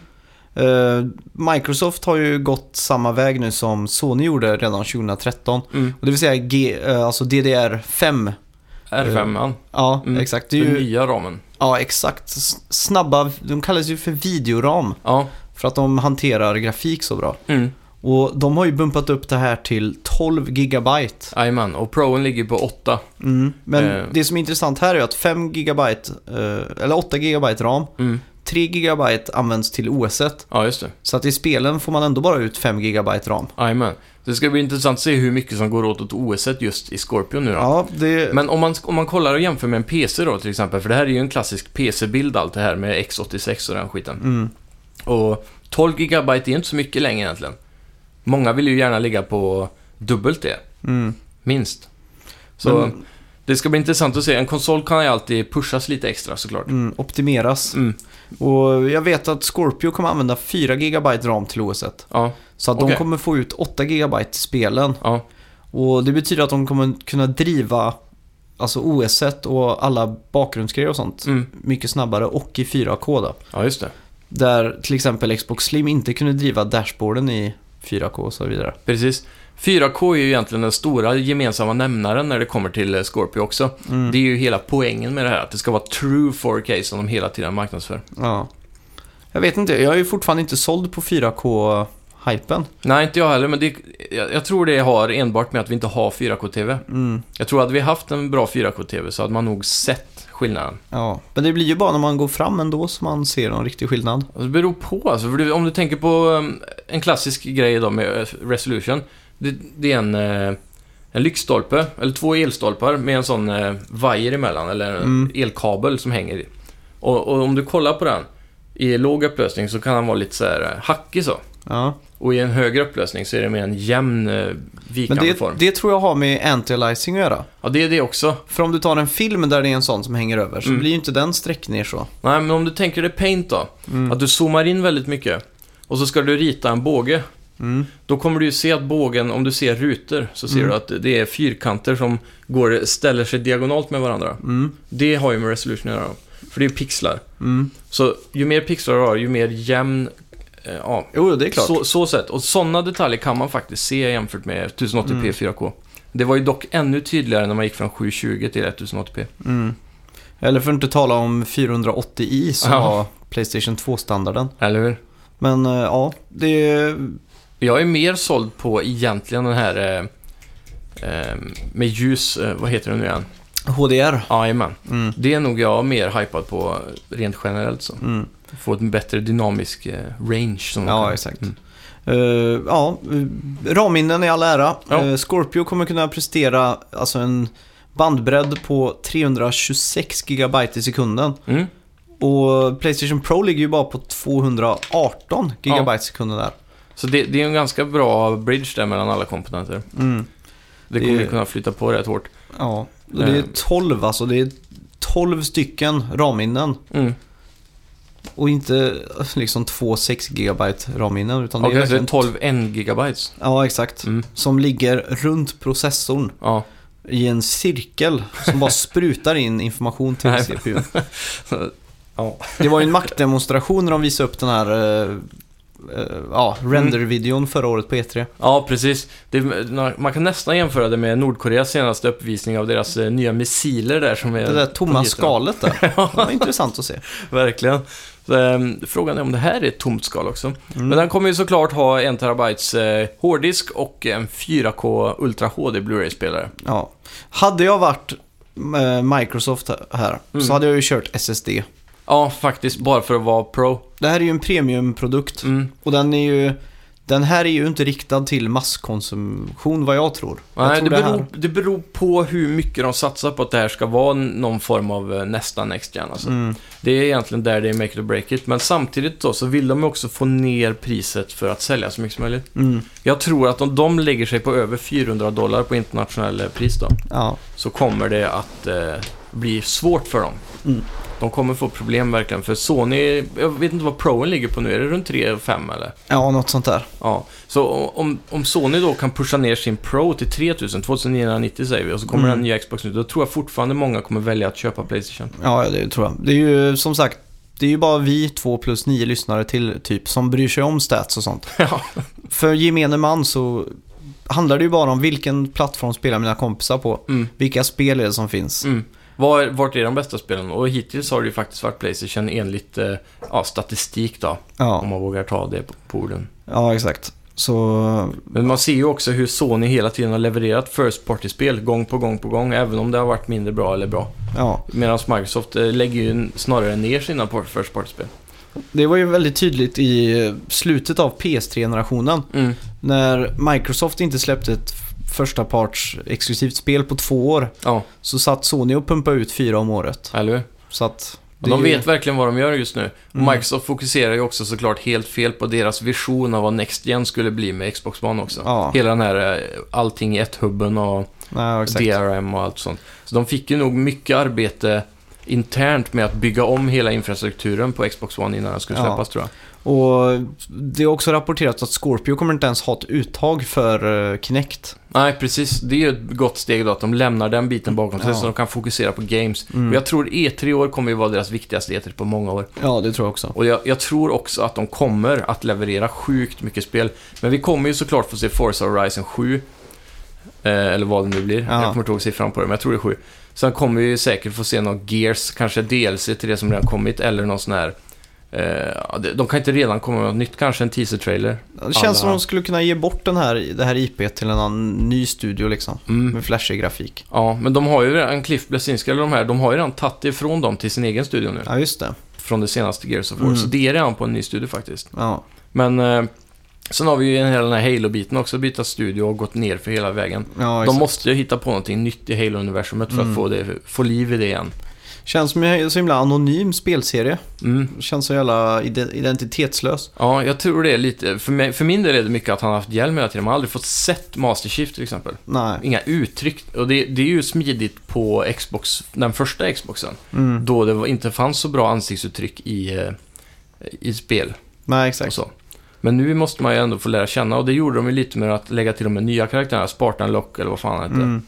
Speaker 1: Eh, Microsoft har ju gått samma väg nu som Sony gjorde redan 2013.
Speaker 2: Mm.
Speaker 1: Och det vill säga G, eh, alltså DDR5.
Speaker 2: R5,
Speaker 1: Ja,
Speaker 2: Mm.
Speaker 1: exakt. Det är
Speaker 2: den
Speaker 1: ju,
Speaker 2: nya ramen.
Speaker 1: ja, exakt. S- Snabba, de kallas ju för videoram.
Speaker 2: Ja,
Speaker 1: För att de hanterar grafik så bra.
Speaker 2: mm.
Speaker 1: Och de har ju bumpat upp det här till 12 gigabyte.
Speaker 2: Jajamän. Och Proen ligger på 8.
Speaker 1: Mm. Men
Speaker 2: Eh.
Speaker 1: det som är intressant här är att 5 gigabyte, eh, eller 8 gigabyte ram,
Speaker 2: Mm.
Speaker 1: 3 gigabyte används till OS. et.
Speaker 2: Ja, just det.
Speaker 1: Så att i spelen får man ändå bara ut 5 gigabyte ram.
Speaker 2: Jajamän. Det ska bli intressant att se hur mycket som går åt åt OS et just i Scorpion nu då.
Speaker 1: Ja, det...
Speaker 2: Men om man, om man kollar och jämför med en PC då till exempel, för det här är ju en klassisk PC-bild allt det här med X86 och den skiten.
Speaker 1: Mm.
Speaker 2: Och 12 GB är inte så mycket längre egentligen. Många vill ju gärna ligga på dubbelt det,
Speaker 1: Mm.
Speaker 2: minst. Så
Speaker 1: Men-
Speaker 2: det ska bli intressant att se. En konsol kan ju alltid pushas lite extra såklart.
Speaker 1: Mm, optimeras.
Speaker 2: Mm.
Speaker 1: Och jag vet att Scorpio kommer använda 4 gigabyte ram till OS. et.
Speaker 2: Ja,
Speaker 1: Så att de
Speaker 2: Okej.
Speaker 1: kommer få ut 8 gigabyte till spelen.
Speaker 2: ja,
Speaker 1: Och det betyder att de kommer kunna driva alltså OS et och alla bakgrundsgrejer och sånt
Speaker 2: mm.
Speaker 1: mycket snabbare och i 4K då.
Speaker 2: ja just det.
Speaker 1: Där till exempel Xbox Slim inte kunde driva dashboarden i 4K och så vidare.
Speaker 2: Precis. 4K är ju egentligen den stora gemensamma nämnaren när det kommer till eh, Scorpio också. Det är ju hela poängen med det här, att det ska vara true 4K som de hela tiden marknadsför.
Speaker 1: Ja. Jag vet inte, jag är ju fortfarande inte såld på 4K-hypen.
Speaker 2: Nej, inte jag heller, men det, jag, jag tror det har enbart med att vi inte har 4K-TV.
Speaker 1: Mm.
Speaker 2: Jag tror att vi haft en bra 4K-TV så hade man nog sett skillnaden.
Speaker 1: Ja, men det blir ju bara när man går fram ändå som man ser någon riktig skillnad.
Speaker 2: Alltså, det beror på alltså, för du, om du tänker på um, en klassisk grej då med eh, resolution. Det, det är en, eh, en lyktstolpe, eller två elstolpar med en sån eh, vajer emellan, eller en
Speaker 1: Mm.
Speaker 2: elkabel som hänger i. Och, och om du kollar på den i låg upplösning så kan den vara lite så här eh, hackig så.
Speaker 1: Ja.
Speaker 2: Och i en högre upplösning så är det mer en jämn eh,
Speaker 1: Men
Speaker 2: vikande
Speaker 1: det,
Speaker 2: form.
Speaker 1: det tror jag har med anti-aliasing att göra.
Speaker 2: Ja, det är det också.
Speaker 1: För om du tar en film där det är en sån som hänger över så
Speaker 2: Mm.
Speaker 1: blir ju inte den sträckt ner så.
Speaker 2: Nej, men om du tänker dig Paint då.
Speaker 1: Mm.
Speaker 2: Att du zoomar in väldigt mycket och så ska du rita en båge.
Speaker 1: Mm.
Speaker 2: Då kommer du ju se att bågen, om du ser rutor, så ser
Speaker 1: Mm.
Speaker 2: du att det är fyrkanter som går, ställer sig diagonalt med varandra.
Speaker 1: Mm.
Speaker 2: Det har ju med resolution att göra. För det är ju pixlar.
Speaker 1: Mm.
Speaker 2: Så ju mer pixlar du har, ju mer jämn... Eh, ja,
Speaker 1: Jo, det är klart.
Speaker 2: så, så sätt. Och sådana detaljer kan man faktiskt se jämfört med 1080p
Speaker 1: Mm.
Speaker 2: 4K. Det var ju dock ännu tydligare när man gick från 720 till 1080p.
Speaker 1: Mm. Eller för att inte tala om 480i som
Speaker 2: Ja.
Speaker 1: var Playstation 2-standarden.
Speaker 2: Eller hur?
Speaker 1: Men eh, ja, det är...
Speaker 2: Jag är mer såld på egentligen den här eh, eh, med ljus, eh, vad heter den nu igen?
Speaker 1: HDR.
Speaker 2: Jajamän.
Speaker 1: Mm.
Speaker 2: Det är nog jag mer hypad på eh, rent generellt så.
Speaker 1: Mm.
Speaker 2: Få ett bättre dynamisk eh, range. Som de
Speaker 1: Ja,
Speaker 2: kallar.
Speaker 1: exakt.
Speaker 2: Mm.
Speaker 1: Eh, ja, eh, ramminnen i all ära.
Speaker 2: Ja.
Speaker 1: Eh, Scorpio kommer kunna prestera alltså en bandbredd på 326 gigabyte i sekunden.
Speaker 2: Mm.
Speaker 1: Och Playstation Pro ligger ju bara på 218 gigabyte i sekunden där.
Speaker 2: Så det, det är en ganska bra bridge där mellan alla komponenter.
Speaker 1: Mm.
Speaker 2: Det
Speaker 1: Det
Speaker 2: kommer
Speaker 1: är-
Speaker 2: kunna flytta på rätt hårt.
Speaker 1: Ja, och det är
Speaker 2: Eh.
Speaker 1: 12 alltså. Det är 12 stycken ramminnen.
Speaker 2: Mm.
Speaker 1: Och inte liksom två 6 gigabyte ramminnen. Utan det
Speaker 2: Okej,
Speaker 1: är
Speaker 2: så det är
Speaker 1: verkligen...
Speaker 2: 12 N gigabytes.
Speaker 1: Ja, exakt.
Speaker 2: Mm.
Speaker 1: Som ligger runt processorn.
Speaker 2: Ja,
Speaker 1: i en cirkel som bara sprutar in information till
Speaker 2: Nej.
Speaker 1: CPU.
Speaker 2: ja.
Speaker 1: Det var ju en maktdemonstration när de visade upp den här eh, eh, ja,
Speaker 2: Mm.
Speaker 1: render-videon förra året på E E3.
Speaker 2: Ja, precis. Det, man kan nästan jämföra det med Nordkoreas senaste uppvisning av deras eh, nya missiler där som är...
Speaker 1: Det där tomma
Speaker 2: på gitarren.
Speaker 1: skalet där. Det var intressant att se.
Speaker 2: Verkligen. Så, ehm, frågan är om det här är ett tomt skal också.
Speaker 1: Mm.
Speaker 2: Men den kommer ju såklart ha en terabytes eh, hårddisk och en 4K Ultra HD Blu-ray-spelare.
Speaker 1: Ja. Hade jag varit eh, Microsoft här- här
Speaker 2: Mm.
Speaker 1: så hade jag ju kört SSD.
Speaker 2: Ja, faktiskt. Bara för att vara pro.
Speaker 1: Det här är ju en premiumprodukt
Speaker 2: Mm.
Speaker 1: och den är ju... Den här är ju inte riktad till masskonsumtion vad jag tror. jag
Speaker 2: Nej,
Speaker 1: tror
Speaker 2: det,
Speaker 1: här-
Speaker 2: beror, det beror på hur mycket de satsar på att det här ska vara n- någon form av eh, nästa Next Gen. Alltså.
Speaker 1: Mm.
Speaker 2: Det är egentligen där det är make it or break it. Men samtidigt då, så vill de ju också få ner priset för att sälja så mycket som möjligt.
Speaker 1: Mm.
Speaker 2: Jag tror att om de lägger sig på över 400 dollar på internationella pris då,
Speaker 1: Ja.
Speaker 2: så kommer det att eh, bli svårt för dem.
Speaker 1: Mm.
Speaker 2: De kommer få problem verkligen, för Sony, jag vet inte vad Proen ligger på nu, är det runt 3-5 eller?
Speaker 1: ja, något sånt där.
Speaker 2: Ja, så om, om Sony då kan pusha ner sin Pro till 3000, 2990 säger vi, och så kommer
Speaker 1: Mm.
Speaker 2: den nya Xbox nu, då tror jag fortfarande många kommer välja att köpa Playstation.
Speaker 1: Ja, det tror jag. Det är ju som sagt, det är ju bara vi två plus nio lyssnare till typ som bryr sig om stats och sånt.
Speaker 2: Ja.
Speaker 1: För gemene man så handlar det ju bara om vilken plattform spelar mina kompisar på.
Speaker 2: Mm.
Speaker 1: Vilka spel är det som finns?
Speaker 2: Mm. Var, vart är de bästa spelen? Och hittills har det ju faktiskt varit Playstation enligt eh, ja, statistik då, om
Speaker 1: Ja,
Speaker 2: man vågar ta det på, på orden.
Speaker 1: ja exakt. Så
Speaker 2: Men man ser ju också hur Sony hela tiden har levererat First Party-spel gång på gång på gång, även om det har varit mindre bra eller bra.
Speaker 1: ja,
Speaker 2: Medan Microsoft eh, lägger ju snarare ner sina por- First Party-spel.
Speaker 1: det var ju väldigt tydligt i eh, slutet av PS3-generationen
Speaker 2: Mm.
Speaker 1: när Microsoft inte släppte ett f- första parts exklusivt spel på två år
Speaker 2: Ja,
Speaker 1: så satt Sony och pumpade ut fyra om året.
Speaker 2: eller hur?
Speaker 1: Så att... det
Speaker 2: Och
Speaker 1: är
Speaker 2: de
Speaker 1: ju-
Speaker 2: vet verkligen vad de gör just nu. Och
Speaker 1: Mm.
Speaker 2: Microsoft fokuserar ju också såklart helt fel på deras vision av vad Next Gen skulle bli med Xbox One också.
Speaker 1: Ja.
Speaker 2: Hela den här eh, allting i ett-hubben och
Speaker 1: Ja, exakt.
Speaker 2: DRM och allt sånt. Så de fick ju nog mycket arbete internt med att bygga om hela infrastrukturen på Xbox One innan den skulle
Speaker 1: Ja.
Speaker 2: släppas tror jag.
Speaker 1: Och det är också rapporterat att Scorpio kommer inte ens ha ett uttag för eh, Kinect.
Speaker 2: Nej, precis. Det är ju ett gott steg då att de lämnar den biten bakom sig
Speaker 1: Ja.
Speaker 2: så de kan fokusera på games.
Speaker 1: Mm.
Speaker 2: Och jag tror E3 i år kommer ju vara deras viktigaste E3 på många år.
Speaker 1: Ja, det tror jag också.
Speaker 2: Och jag, jag tror också att de kommer att leverera sjukt mycket spel. Men vi kommer ju såklart få se Forza Horizon 7. Eh, eller vad det nu blir.
Speaker 1: Ja.
Speaker 2: Jag kommer inte ihåg siffran på det, men jag tror det är 7. Sen kommer vi ju säkert få se någon Gears, kanske DLC till det som redan kommit, eller någon sån här... Eh, ja, de- de kan inte redan komma med något nytt, kanske en teaser-trailer.
Speaker 1: Det känns
Speaker 2: Alla-
Speaker 1: som de skulle kunna ge bort den här, det här IP till en annan ny studio liksom.
Speaker 2: Mm.
Speaker 1: Med flashig grafik.
Speaker 2: Ja, men de har ju redan, Cliff Blesinski eller de här, de har ju redan tagit ifrån dem till sin egen studio nu.
Speaker 1: Ja, just det.
Speaker 2: Från det senaste Gears of War,
Speaker 1: Mm.
Speaker 2: så det är redan på en ny studio faktiskt.
Speaker 1: Ja,
Speaker 2: Men eh, sen har vi ju hela den här Halo-biten också, byta studio och gått ner för hela vägen.
Speaker 1: ja
Speaker 2: De
Speaker 1: exakt.
Speaker 2: måste ju hitta på någonting nytt i Halo-universumet för
Speaker 1: Mm.
Speaker 2: att få, det, få liv i det igen.
Speaker 1: Känns som en så himla anonym spelserie.
Speaker 2: Mm.
Speaker 1: Känns så jävla ide- identitetslös.
Speaker 2: Ja, jag tror det är lite... För, mig, för min del är det mycket att han har haft hjälm hela tiden. Man har aldrig fått sett Master Chief till exempel.
Speaker 1: Nej.
Speaker 2: Inga uttryck. Och det, det är ju smidigt på Xbox, den första Xboxen.
Speaker 1: Mm.
Speaker 2: Då det var, inte fanns så bra ansiktsuttryck i, eh, i spel
Speaker 1: Nej,
Speaker 2: och
Speaker 1: exakt.
Speaker 2: så. Men nu måste man ju ändå få lära känna och det gjorde de ju lite med att lägga till de här nya karaktärerna, Spartan Lock eller vad fan han hette.
Speaker 1: Mm.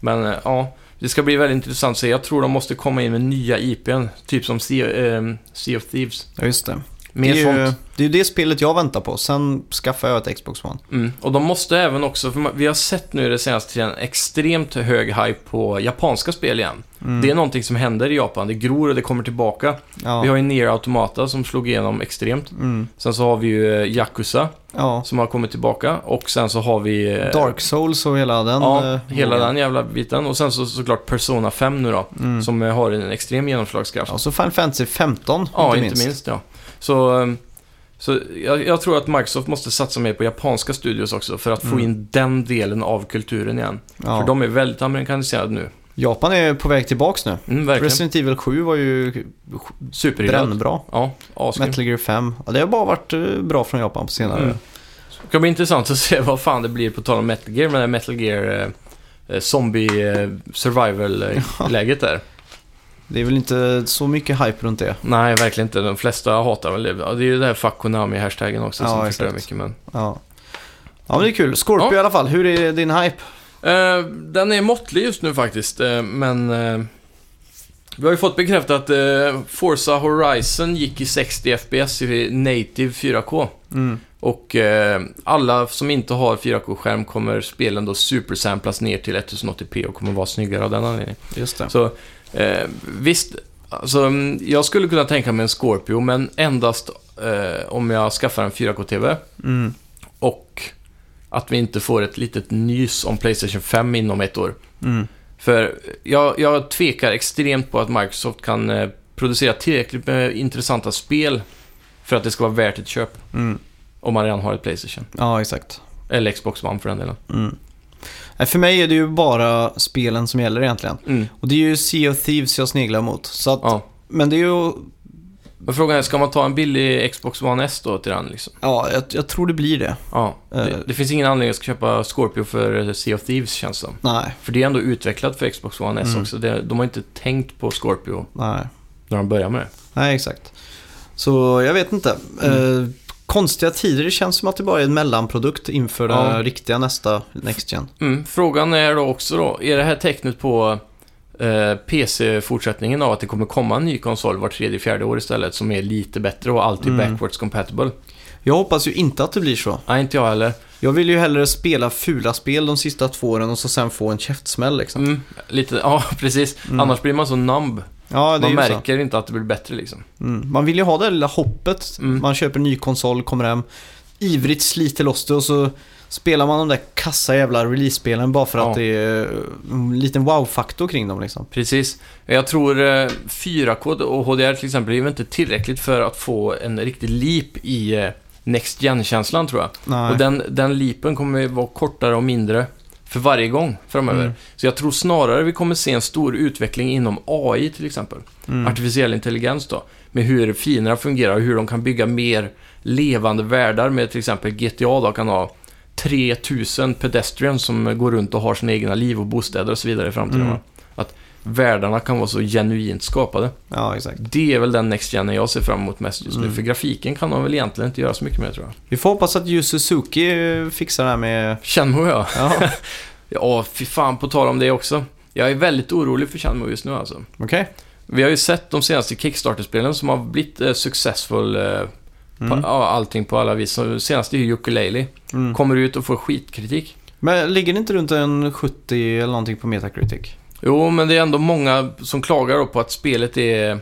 Speaker 2: Men eh, ja, det ska bli väldigt intressant att se. Jag tror de måste komma in med nya IPn, typ som sea, ehm, sea of Thieves.
Speaker 1: Ja, just det. Det
Speaker 2: Mer
Speaker 1: är, ju,
Speaker 2: sånt.
Speaker 1: det är ju det spelet jag väntar på. Sen skaffar jag ett Xbox One.
Speaker 2: Mm. Och de måste även också, för man- vi har sett nu i det senaste tiden extremt hög hype på japanska spel igen.
Speaker 1: Mm.
Speaker 2: Det är någonting som händer i Japan, det gror och det kommer tillbaka.
Speaker 1: Ja.
Speaker 2: Vi har ju Nier Automata som slog igenom extremt.
Speaker 1: Mm.
Speaker 2: Sen så har vi ju eh, Yakuza
Speaker 1: Ja.
Speaker 2: som har kommit tillbaka och sen så har vi... eh,
Speaker 1: Dark Souls och hela den.
Speaker 2: Ja,
Speaker 1: eh,
Speaker 2: hela
Speaker 1: vågen.
Speaker 2: den jävla biten. Och sen så såklart Persona 5 nu då,
Speaker 1: Mm.
Speaker 2: som eh, har en extrem genomslagskraft.
Speaker 1: Ja, så Final Fantasy 15
Speaker 2: Ja, inte minst. ja. Så, ehm, så jag, jag tror att Microsoft måste satsa mer på japanska studios också för att få
Speaker 1: Mm.
Speaker 2: in den delen av kulturen igen.
Speaker 1: Ja.
Speaker 2: För de är väldigt amerikaniserade nu.
Speaker 1: Japan är på väg tillbaks nu.
Speaker 2: Mm, verkligen.
Speaker 1: Resident Evil 7 var ju
Speaker 2: Superhyllat.
Speaker 1: brännbra.
Speaker 2: Ja, asgrymt.
Speaker 1: Metal Gear 5. Ja, det har bara varit eh, bra från Japan på senare.
Speaker 2: Mm. Det ska bli intressant att se vad fan det blir på tal om Metal Gear med det här Metal Gear eh, eh, Zombie eh, Survival-läget där.
Speaker 1: Det är väl inte så mycket hype runt det.
Speaker 2: Nej, verkligen inte. De flesta hatar väl det. Ja, Det är ju det här Fuck Konami-hashtaggen också
Speaker 1: Ja,
Speaker 2: som
Speaker 1: exakt.
Speaker 2: förstör mycket. Men...
Speaker 1: Ja. Ja, men det är kul. Scorpio
Speaker 2: Ja.
Speaker 1: i alla fall. Hur är din hype?
Speaker 2: Eh, den är måttlig just nu faktiskt, eh, men eh, Vi har ju fått bekräftat att eh, Forza Horizon gick i 60 FPS i native 4K.
Speaker 1: Mm.
Speaker 2: Och eh, alla som inte har 4K-skärm kommer spelen då supersamplas ner till 1080p och kommer vara snyggare av den anledningen.
Speaker 1: Just det.
Speaker 2: Så eh, visst, alltså, mm, jag skulle kunna tänka mig en Scorpio, men endast eh, om jag skaffar en 4K-TV
Speaker 1: Mm.
Speaker 2: och att vi inte får ett litet nys om Playstation 5 inom ett år.
Speaker 1: Mm.
Speaker 2: För jag, jag tvekar extremt på att Microsoft kan eh, producera tillräckligt med intressanta spel för att det ska vara värt ett köp
Speaker 1: Mm.
Speaker 2: om man redan har ett Playstation.
Speaker 1: Ja, exakt.
Speaker 2: Eller Xbox One för den delen.
Speaker 1: Mm. Nej, För mig är det ju bara spelen som gäller egentligen.
Speaker 2: Mm.
Speaker 1: Och det är ju Sea of Thieves jag sneglar mot. Så att,
Speaker 2: Ja.
Speaker 1: Men det är ju...
Speaker 2: Men frågan är, ska man ta en billig Xbox One S då till den liksom?
Speaker 1: Ja, jag, jag tror det blir det.
Speaker 2: Ja.
Speaker 1: Eh.
Speaker 2: Det, det finns ingen anledning att köpa Scorpio för Sea of Thieves känns det som.
Speaker 1: Nej,
Speaker 2: För det är ändå utvecklat för Xbox One S
Speaker 1: Mm.
Speaker 2: också. Det, de har inte tänkt på Scorpio
Speaker 1: nej.
Speaker 2: när de började med det.
Speaker 1: Nej, exakt. Så jag vet inte. Eh, konstiga tider, det känns som att det bara är en mellanprodukt inför
Speaker 2: Ja.
Speaker 1: det riktiga nästa Next Gen.
Speaker 2: Mm, frågan är då också då, är det här tecknet på eh, PC-fortsättningen av att det kommer komma en ny konsol var tredje, fjärde år istället som är lite bättre och alltid
Speaker 1: Mm.
Speaker 2: backwards compatible?
Speaker 1: Jag hoppas ju inte att det blir så.
Speaker 2: Nej, inte jag heller.
Speaker 1: Jag vill ju hellre spela fula spel de sista två åren och så sen få en käftsmäll liksom.
Speaker 2: Mm, lite, ja precis.
Speaker 1: Mm.
Speaker 2: Annars blir man så numb.
Speaker 1: Ja, det är
Speaker 2: man
Speaker 1: ju
Speaker 2: märker inte att det blir bättre liksom.
Speaker 1: så. Mm. Man vill ju ha det där lilla hoppet.
Speaker 2: Mm.
Speaker 1: Man köper en ny konsol, kommer hem, ivrigt sliter loss det och så spelar man de där kassa jävla release-spelen bara för att
Speaker 2: Ja.
Speaker 1: det är en liten wow-faktor kring dem liksom.
Speaker 2: Precis. Jag tror eh, 4K och HDR till exempel är ju inte tillräckligt för att få en riktig leap i eh, Next Gen-känslan tror jag.
Speaker 1: Nej.
Speaker 2: Och den, den leapen kommer ju vara kortare och mindre för varje gång framöver.
Speaker 1: Mm.
Speaker 2: Så jag tror snarare vi kommer se en stor utveckling inom AI till exempel.
Speaker 1: Mm.
Speaker 2: Artificiell intelligens då. Med hur finerna fungerar och hur de kan bygga mer levande världar med till exempel GTA då kan ha 3000 pedestrians som går runt och har sina egna liv och bostäder och så vidare i framtiden.
Speaker 1: Mm.
Speaker 2: va? Att världarna kan vara så genuint skapade.
Speaker 1: Ja, exakt.
Speaker 2: Det är väl den next gen jag ser fram emot mest just nu.
Speaker 1: Mm.
Speaker 2: För grafiken kan de väl egentligen inte göra så mycket med tror jag.
Speaker 1: Vi får hoppas att Yu Suzuki eh, fixar det här med...
Speaker 2: Shenmue ja.
Speaker 1: Ja,
Speaker 2: Ja, fy fan på tal om det också. Jag är väldigt orolig för Shenmue just nu alltså.
Speaker 1: okej.
Speaker 2: Vi har ju sett de senaste Kickstarter-spelen som har blivit eh, successful, eh, på,
Speaker 1: Mm.
Speaker 2: ja, allting på alla vis. Så det Senaste är ju Ukulele.
Speaker 1: Mm.
Speaker 2: Kommer ut och får skitkritik.
Speaker 1: Men ligger det inte runt en 70 eller någonting på Metacritic?
Speaker 2: Jo, men det är ändå många som klagar då på att spelet är...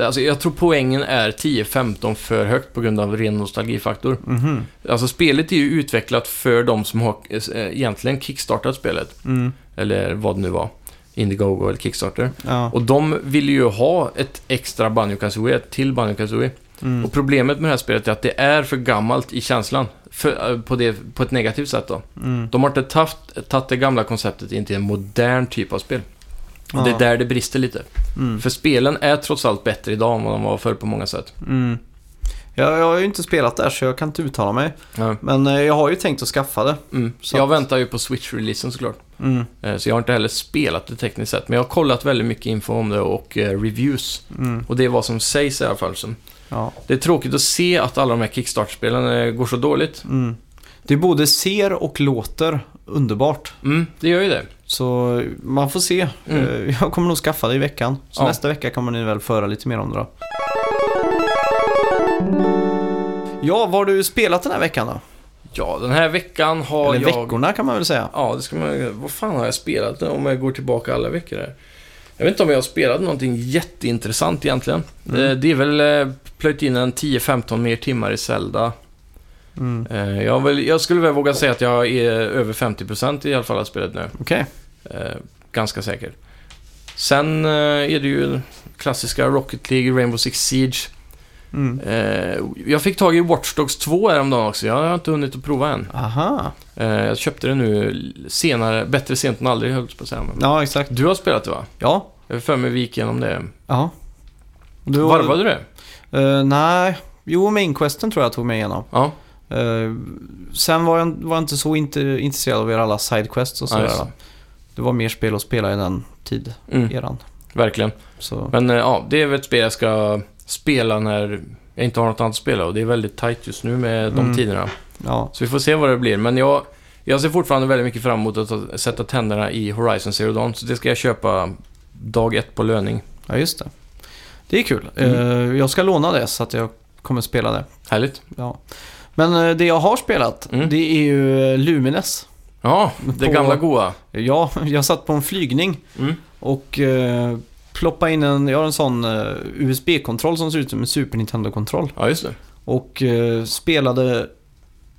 Speaker 2: Alltså jag tror poängen är 10-15 för högt på grund av ren nostalgifaktor.
Speaker 1: Mhm.
Speaker 2: Alltså spelet är ju utvecklat för de som har eh, egentligen kickstartat spelet.
Speaker 1: Mm.
Speaker 2: Eller vad det nu var. Indiegogo eller Kickstarter.
Speaker 1: Ja.
Speaker 2: Och de ville ju ha ett extra Banjo Kazooie till Banjo Kazooie.
Speaker 1: Mm.
Speaker 2: Och problemet med det här spelet är att det är för gammalt i känslan. För, eh, på, det, på ett negativt sätt då.
Speaker 1: Mm.
Speaker 2: De har inte taft- tagit det gamla konceptet in till en modern typ av spel. Och det är
Speaker 1: Ja.
Speaker 2: där det brister lite.
Speaker 1: Mm.
Speaker 2: För spelen är trots allt bättre idag än vad de var förr på många sätt.
Speaker 1: Mm. Jag, jag har ju inte spelat där så jag kan inte uttala mig. Men eh, jag har ju tänkt att skaffa det.
Speaker 2: Mm.
Speaker 1: Så
Speaker 2: Jag
Speaker 1: att-
Speaker 2: väntar ju på Switch-releasen såklart.
Speaker 1: Mm.
Speaker 2: Eh, Så jag har inte heller spelat det tekniskt sett. Men jag har kollat väldigt mycket info om det och eh, reviews.
Speaker 1: Mm.
Speaker 2: Och det är vad som sägs i alla fall. Så
Speaker 1: Ja.
Speaker 2: Det är tråkigt att se att alla de här Kickstarter-spelen eh, går så dåligt.
Speaker 1: Mm. Det både ser och låter underbart.
Speaker 2: Mm, det gör ju det.
Speaker 1: Så man får se.
Speaker 2: Mm.
Speaker 1: Eh, Jag kommer nog skaffa det i veckan. Så
Speaker 2: Ja.
Speaker 1: nästa vecka kommer ni väl föra lite mer om det då. Ja, vad har du spelat den här veckan då?
Speaker 2: Ja, den här veckan har
Speaker 1: Eller
Speaker 2: jag...
Speaker 1: veckorna kan man väl säga.
Speaker 2: Ja, det ska man... Vad fan har jag spelat om jag går tillbaka alla veckor här? Jag vet inte om jag har spelat någonting jätteintressant egentligen.
Speaker 1: Mm.
Speaker 2: Eh, Det är väl eh, plöjt in en 10-15 mer timmar i Zelda.
Speaker 1: Mm.
Speaker 2: Eh, Jag, har väl, jag skulle väl våga säga att jag är över 50% i alla fall av spelet nu.
Speaker 1: Okej.
Speaker 2: Eh, Ganska säker. Sen eh, är det ju klassiska Rocket League, Rainbow Six Siege.
Speaker 1: Mm.
Speaker 2: Eh, Jag fick tag i Watch Dogs 2 häromdagen också. Jag har inte hunnit att prova än.
Speaker 1: Aha.
Speaker 2: Eh, Jag köpte det nu senare, bättre sent än aldrig höll jag på att säga. Men-
Speaker 1: Ja, exakt.
Speaker 2: Du har spelat det va?
Speaker 1: Ja.
Speaker 2: Jag har för mig vi gick igenom det.
Speaker 1: Ja. Du,
Speaker 2: Varvade du det?
Speaker 1: Eh, nej. Jo, mainquesten tror jag tog mig igenom.
Speaker 2: Ja.
Speaker 1: Eh, sen var jag, var jag inte så inte, intresserad av era alla sidequests och
Speaker 2: Ja,
Speaker 1: sådär.
Speaker 2: just
Speaker 1: då. det var mer spel att spela i den tid,
Speaker 2: Mm,
Speaker 1: eran.
Speaker 2: verkligen.
Speaker 1: Så,
Speaker 2: Men eh, ja, det är väl ett spel jag ska spela när jag inte har något annat att spela och det är väldigt tight just nu med de
Speaker 1: Mm.
Speaker 2: tiderna.
Speaker 1: ja.
Speaker 2: Så vi får se vad det blir. Men jag, jag ser fortfarande väldigt mycket fram emot att ta- sätta tänderna i Horizon Zero Dawn. Så det ska jag köpa dag ett på löning.
Speaker 1: Ja, just det. Det är kul.
Speaker 2: Mm.
Speaker 1: Eh, jag ska låna det så att jag kommer spela det.
Speaker 2: Härligt.
Speaker 1: Ja. Men eh, det jag har spelat,
Speaker 2: Mm.
Speaker 1: det är ju eh, Lumines.
Speaker 2: Ja, det
Speaker 1: På-
Speaker 2: gamla goa.
Speaker 1: Ja, jag satt på en flygning
Speaker 2: Mm.
Speaker 1: och eh, ploppade in en, jag har en sån eh, USB-kontroll som ser ut som en Super Nintendo-kontroll.
Speaker 2: Ja, just det.
Speaker 1: Och eh, spelade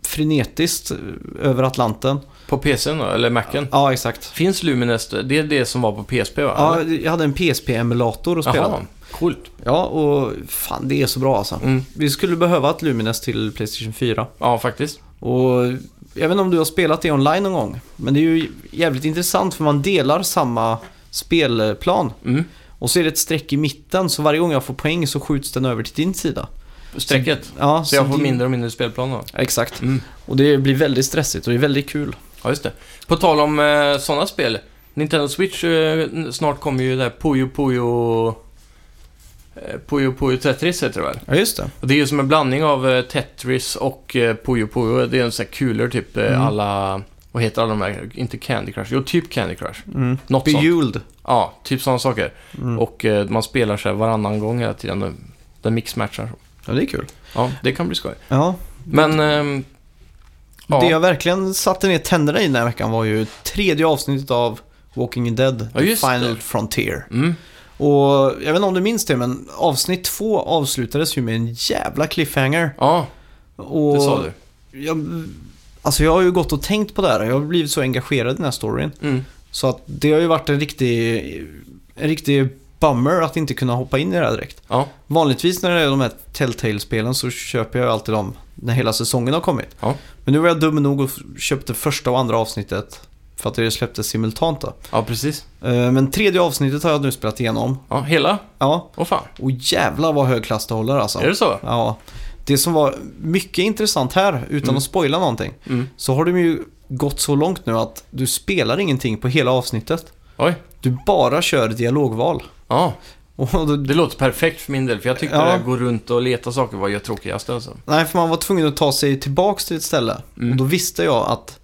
Speaker 1: frenetiskt eh, över Atlanten.
Speaker 2: På PCn då, eller Macen.
Speaker 1: Ja, exakt.
Speaker 2: Finns Lumines, det är det som var på PSP va?
Speaker 1: Ja, jag hade en PSP-emulator att spela.
Speaker 2: Jaha, coolt.
Speaker 1: Ja, och fan det är så bra alltså.
Speaker 2: Mm.
Speaker 1: Vi skulle behöva ett Lumines till Playstation 4.
Speaker 2: Ja, faktiskt.
Speaker 1: Och jag vet inte om du har spelat det online någon gång. Men det är ju jävligt intressant för man delar samma spelplan.
Speaker 2: Mm.
Speaker 1: Och så är det ett streck i mitten, så varje gång jag får poäng så skjuts den över till din sida.
Speaker 2: Strecket.
Speaker 1: Ja,
Speaker 2: Så jag får
Speaker 1: din-
Speaker 2: mindre och mindre spelplan då.
Speaker 1: Ja, Exakt.
Speaker 2: Mm.
Speaker 1: Och det blir väldigt stressigt och det är väldigt kul.
Speaker 2: Ja, just det. På tal om eh, sådana spel. Nintendo Switch, eh, n- snart kommer ju det här Puyo Puyo... Eh, Puyo Puyo Tetris heter det väl?
Speaker 1: Ja, just det.
Speaker 2: Och det är ju som en blandning av eh, Tetris och eh, Puyo Puyo. Det är en sån här kulor typ eh,
Speaker 1: Mm.
Speaker 2: alla... Vad heter alla de här? Inte Candy Crush. Jo, typ Candy Crush.
Speaker 1: Mm.
Speaker 2: Något sånt.
Speaker 1: Bejeweled.
Speaker 2: Ja, typ sådana saker.
Speaker 1: Mm.
Speaker 2: Och eh, man spelar så här varannan gång hela tiden. Den- Den mixmatchar.
Speaker 1: Ja, det är kul.
Speaker 2: Ja, det kan bli skoj.
Speaker 1: Ja.
Speaker 2: Men... ehm, ja.
Speaker 1: Det jag verkligen satte ner tänderna i den här veckan var ju tredje avsnittet av Walking Dead,
Speaker 2: Ja,
Speaker 1: The
Speaker 2: just det.
Speaker 1: Final Frontier.
Speaker 2: Mm.
Speaker 1: Och jag vet inte om du minns det, men avsnitt två avslutades ju med en jävla cliffhanger.
Speaker 2: Ja,
Speaker 1: Och
Speaker 2: det sa du.
Speaker 1: Jag, alltså jag har ju gått och tänkt på det här. Jag har blivit så engagerad i den här storyn.
Speaker 2: Mm.
Speaker 1: Så att det har ju varit en riktig, en riktig bummer att inte kunna hoppa in i det här direkt.
Speaker 2: Ja,
Speaker 1: Vanligtvis när det är de här Telltale-spelen så köper jag ju alltid dem när hela säsongen har kommit.
Speaker 2: Ja.
Speaker 1: Men nu var jag dum nog och köpte första och andra avsnittet för att det släpptes simultant då.
Speaker 2: ja precis.
Speaker 1: Eh, Men tredje avsnittet har jag nu spelat igenom.
Speaker 2: Ja, hela?
Speaker 1: Ja,
Speaker 2: Åh fan.
Speaker 1: och jävla vad hög klass det håller alltså.
Speaker 2: Är det så?
Speaker 1: Ja. Det som var mycket intressant här, utan
Speaker 2: Mm.
Speaker 1: att spoila någonting,
Speaker 2: Mm.
Speaker 1: så har de ju gått så långt nu att du spelar ingenting på hela avsnittet.
Speaker 2: Oj.
Speaker 1: Du bara kör dialogval.
Speaker 2: Ja,
Speaker 1: Och då,
Speaker 2: det låter perfekt för min del. För jag tyckte
Speaker 1: Ja.
Speaker 2: det här gå runt och leta saker var ju tråkigast alltså.
Speaker 1: nej, för man var tvungen att ta sig tillbaks till ett ställe.
Speaker 2: Mm.
Speaker 1: Och då visste jag att,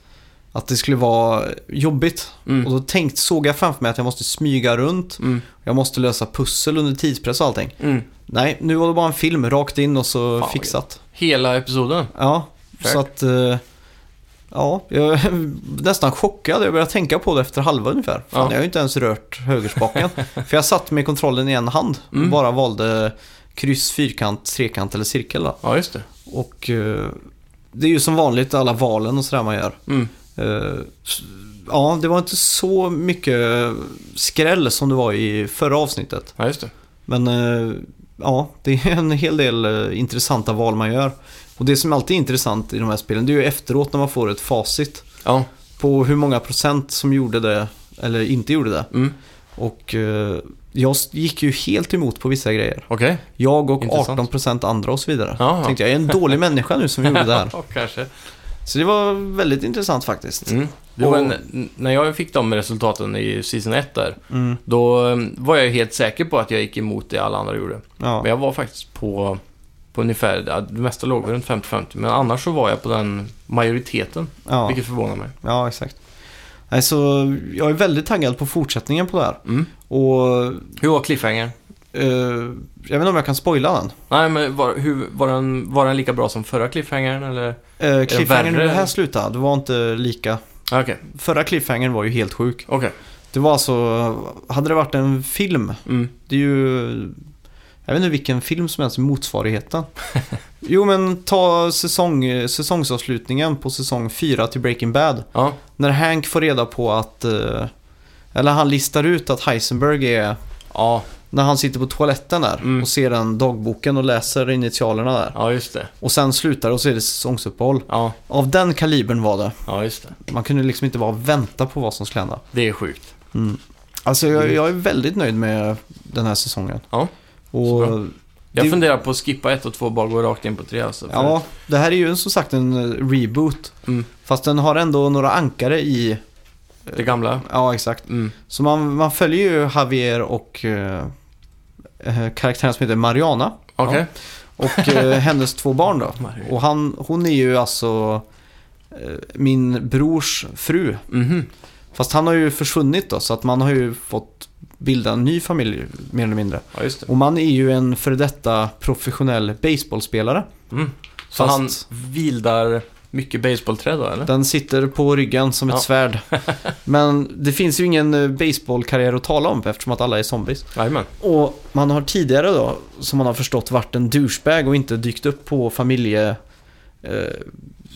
Speaker 1: att det skulle vara jobbigt.
Speaker 2: Mm.
Speaker 1: Och då tänkt, såg jag framför mig att jag måste smyga runt,
Speaker 2: Mm.
Speaker 1: jag måste lösa pussel under tidspress och allting.
Speaker 2: Mm.
Speaker 1: Nej, nu var det bara en film rakt in och så
Speaker 2: vad
Speaker 1: fixat.
Speaker 2: Hela episoden?
Speaker 1: Ja,
Speaker 2: Fair.
Speaker 1: så att... eh, Ja, jag är nästan chockad. Jag började tänka på det efter halva ungefär. Fan,
Speaker 2: Ja.
Speaker 1: jag har ju inte ens rört högerspaken. För jag satt med kontrollen i en hand och
Speaker 2: Mm.
Speaker 1: bara valde kryss, fyrkant, trekant eller cirkel. Då.
Speaker 2: Ja, just det.
Speaker 1: Och eh, det är ju som vanligt alla valen och sådär man gör.
Speaker 2: Mm.
Speaker 1: Eh, s- ja, det var inte så mycket skräll som det var i förra avsnittet.
Speaker 2: Ja, just det.
Speaker 1: Men eh, ja, det är en hel del eh, intressanta val man gör. Och det som alltid är intressant i de här spelen, det är ju efteråt när man får ett facit
Speaker 2: Ja.
Speaker 1: på hur många procent som gjorde det eller inte gjorde det.
Speaker 2: Mm.
Speaker 1: Och eh, jag gick ju helt emot på vissa grejer.
Speaker 2: Okej.
Speaker 1: Jag och
Speaker 2: Intressant.
Speaker 1: 18 procent andra och så vidare.
Speaker 2: Jaha.
Speaker 1: Tänkte jag, jag är en dålig människa nu som gjorde det här.
Speaker 2: Ja, kanske.
Speaker 1: Så det var väldigt intressant faktiskt.
Speaker 2: Mm. Det var
Speaker 1: Och-
Speaker 2: en, när jag fick de resultaten i season 1 där,
Speaker 1: Mm,
Speaker 2: då eh, var jag helt säker på att jag gick emot det alla andra gjorde.
Speaker 1: ja.
Speaker 2: Men jag var faktiskt på, på ungefär, ja, det mesta låg väl runt 50-50, men annars så var jag på den majoriteten,
Speaker 1: Ja,
Speaker 2: vilket förvånar mig.
Speaker 1: ja, exakt. Nej, så jag är väldigt taggad på fortsättningen på det här.
Speaker 2: Mm.
Speaker 1: Och
Speaker 2: Hur var cliffhanger?
Speaker 1: Eh, jag vet inte om jag kan spoila den.
Speaker 2: Nej, men var, hur, var, den, var den lika bra som förra cliffhangern eller?
Speaker 1: Uh, cliffhangern
Speaker 2: värre?
Speaker 1: det här slutade, det var inte lika.
Speaker 2: Ah, Okej,
Speaker 1: Förra cliffhangern var ju helt sjuk.
Speaker 2: okej.
Speaker 1: Det var alltså, hade det varit en film,
Speaker 2: Mm.
Speaker 1: det är ju... Jag vet inte vilken film som helst är motsvarigheten. Jo men ta säsong, eh, säsongsavslutningen på säsong 4 till Breaking Bad.
Speaker 2: Ja,
Speaker 1: När Hank får reda på att... eh, eller han listar ut att Heisenberg är...
Speaker 2: ja,
Speaker 1: När han sitter på toaletten där
Speaker 2: Mm.
Speaker 1: och ser den dagboken och läser initialerna där.
Speaker 2: ja just det.
Speaker 1: Och sen slutar det och så är det säsongsuppehåll.
Speaker 2: Ja,
Speaker 1: Av den kalibern var det.
Speaker 2: ja, just det.
Speaker 1: Man kunde liksom inte bara vänta på vad som skulle hända.
Speaker 2: Det är sjukt.
Speaker 1: Alltså jag, jag är väldigt nöjd med den här säsongen.
Speaker 2: Mm. Ja, så
Speaker 1: Och
Speaker 2: Jag
Speaker 1: Det-
Speaker 2: funderar på att skippa ett och två och bara gå rakt in på tre alltså. för-
Speaker 1: ja, det här är ju som sagt en eh, reboot.
Speaker 2: Mm.
Speaker 1: Fast den har ändå några ankare i...
Speaker 2: Det gamla.
Speaker 1: Ja, exakt.
Speaker 2: Mm.
Speaker 1: Så man, man följer ju Javier och eh, eh, karaktären som heter Mariana.
Speaker 2: Okej.
Speaker 1: Och eh, hennes två barn då.
Speaker 2: Mario.
Speaker 1: Och han, hon är ju alltså eh, min brors fru.
Speaker 2: Mhm.
Speaker 1: Fast han har ju försvunnit då, så att man har ju fått bilda en ny familj mer eller mindre.
Speaker 2: Ja, just det.
Speaker 1: Och man är ju en före detta professionell baseballspelare.
Speaker 2: Mm. Så
Speaker 1: Fast-
Speaker 2: han vildar mycket baseballträ då, eller?
Speaker 1: Den sitter på ryggen som ett
Speaker 2: Ja.
Speaker 1: svärd. Men det finns ju ingen eh, baseballkarriär att tala om eftersom att alla är zombies.
Speaker 2: Jajamän.
Speaker 1: Och man har tidigare då, som man har förstått, varit en douchebag och inte dykt upp på familje... Eh,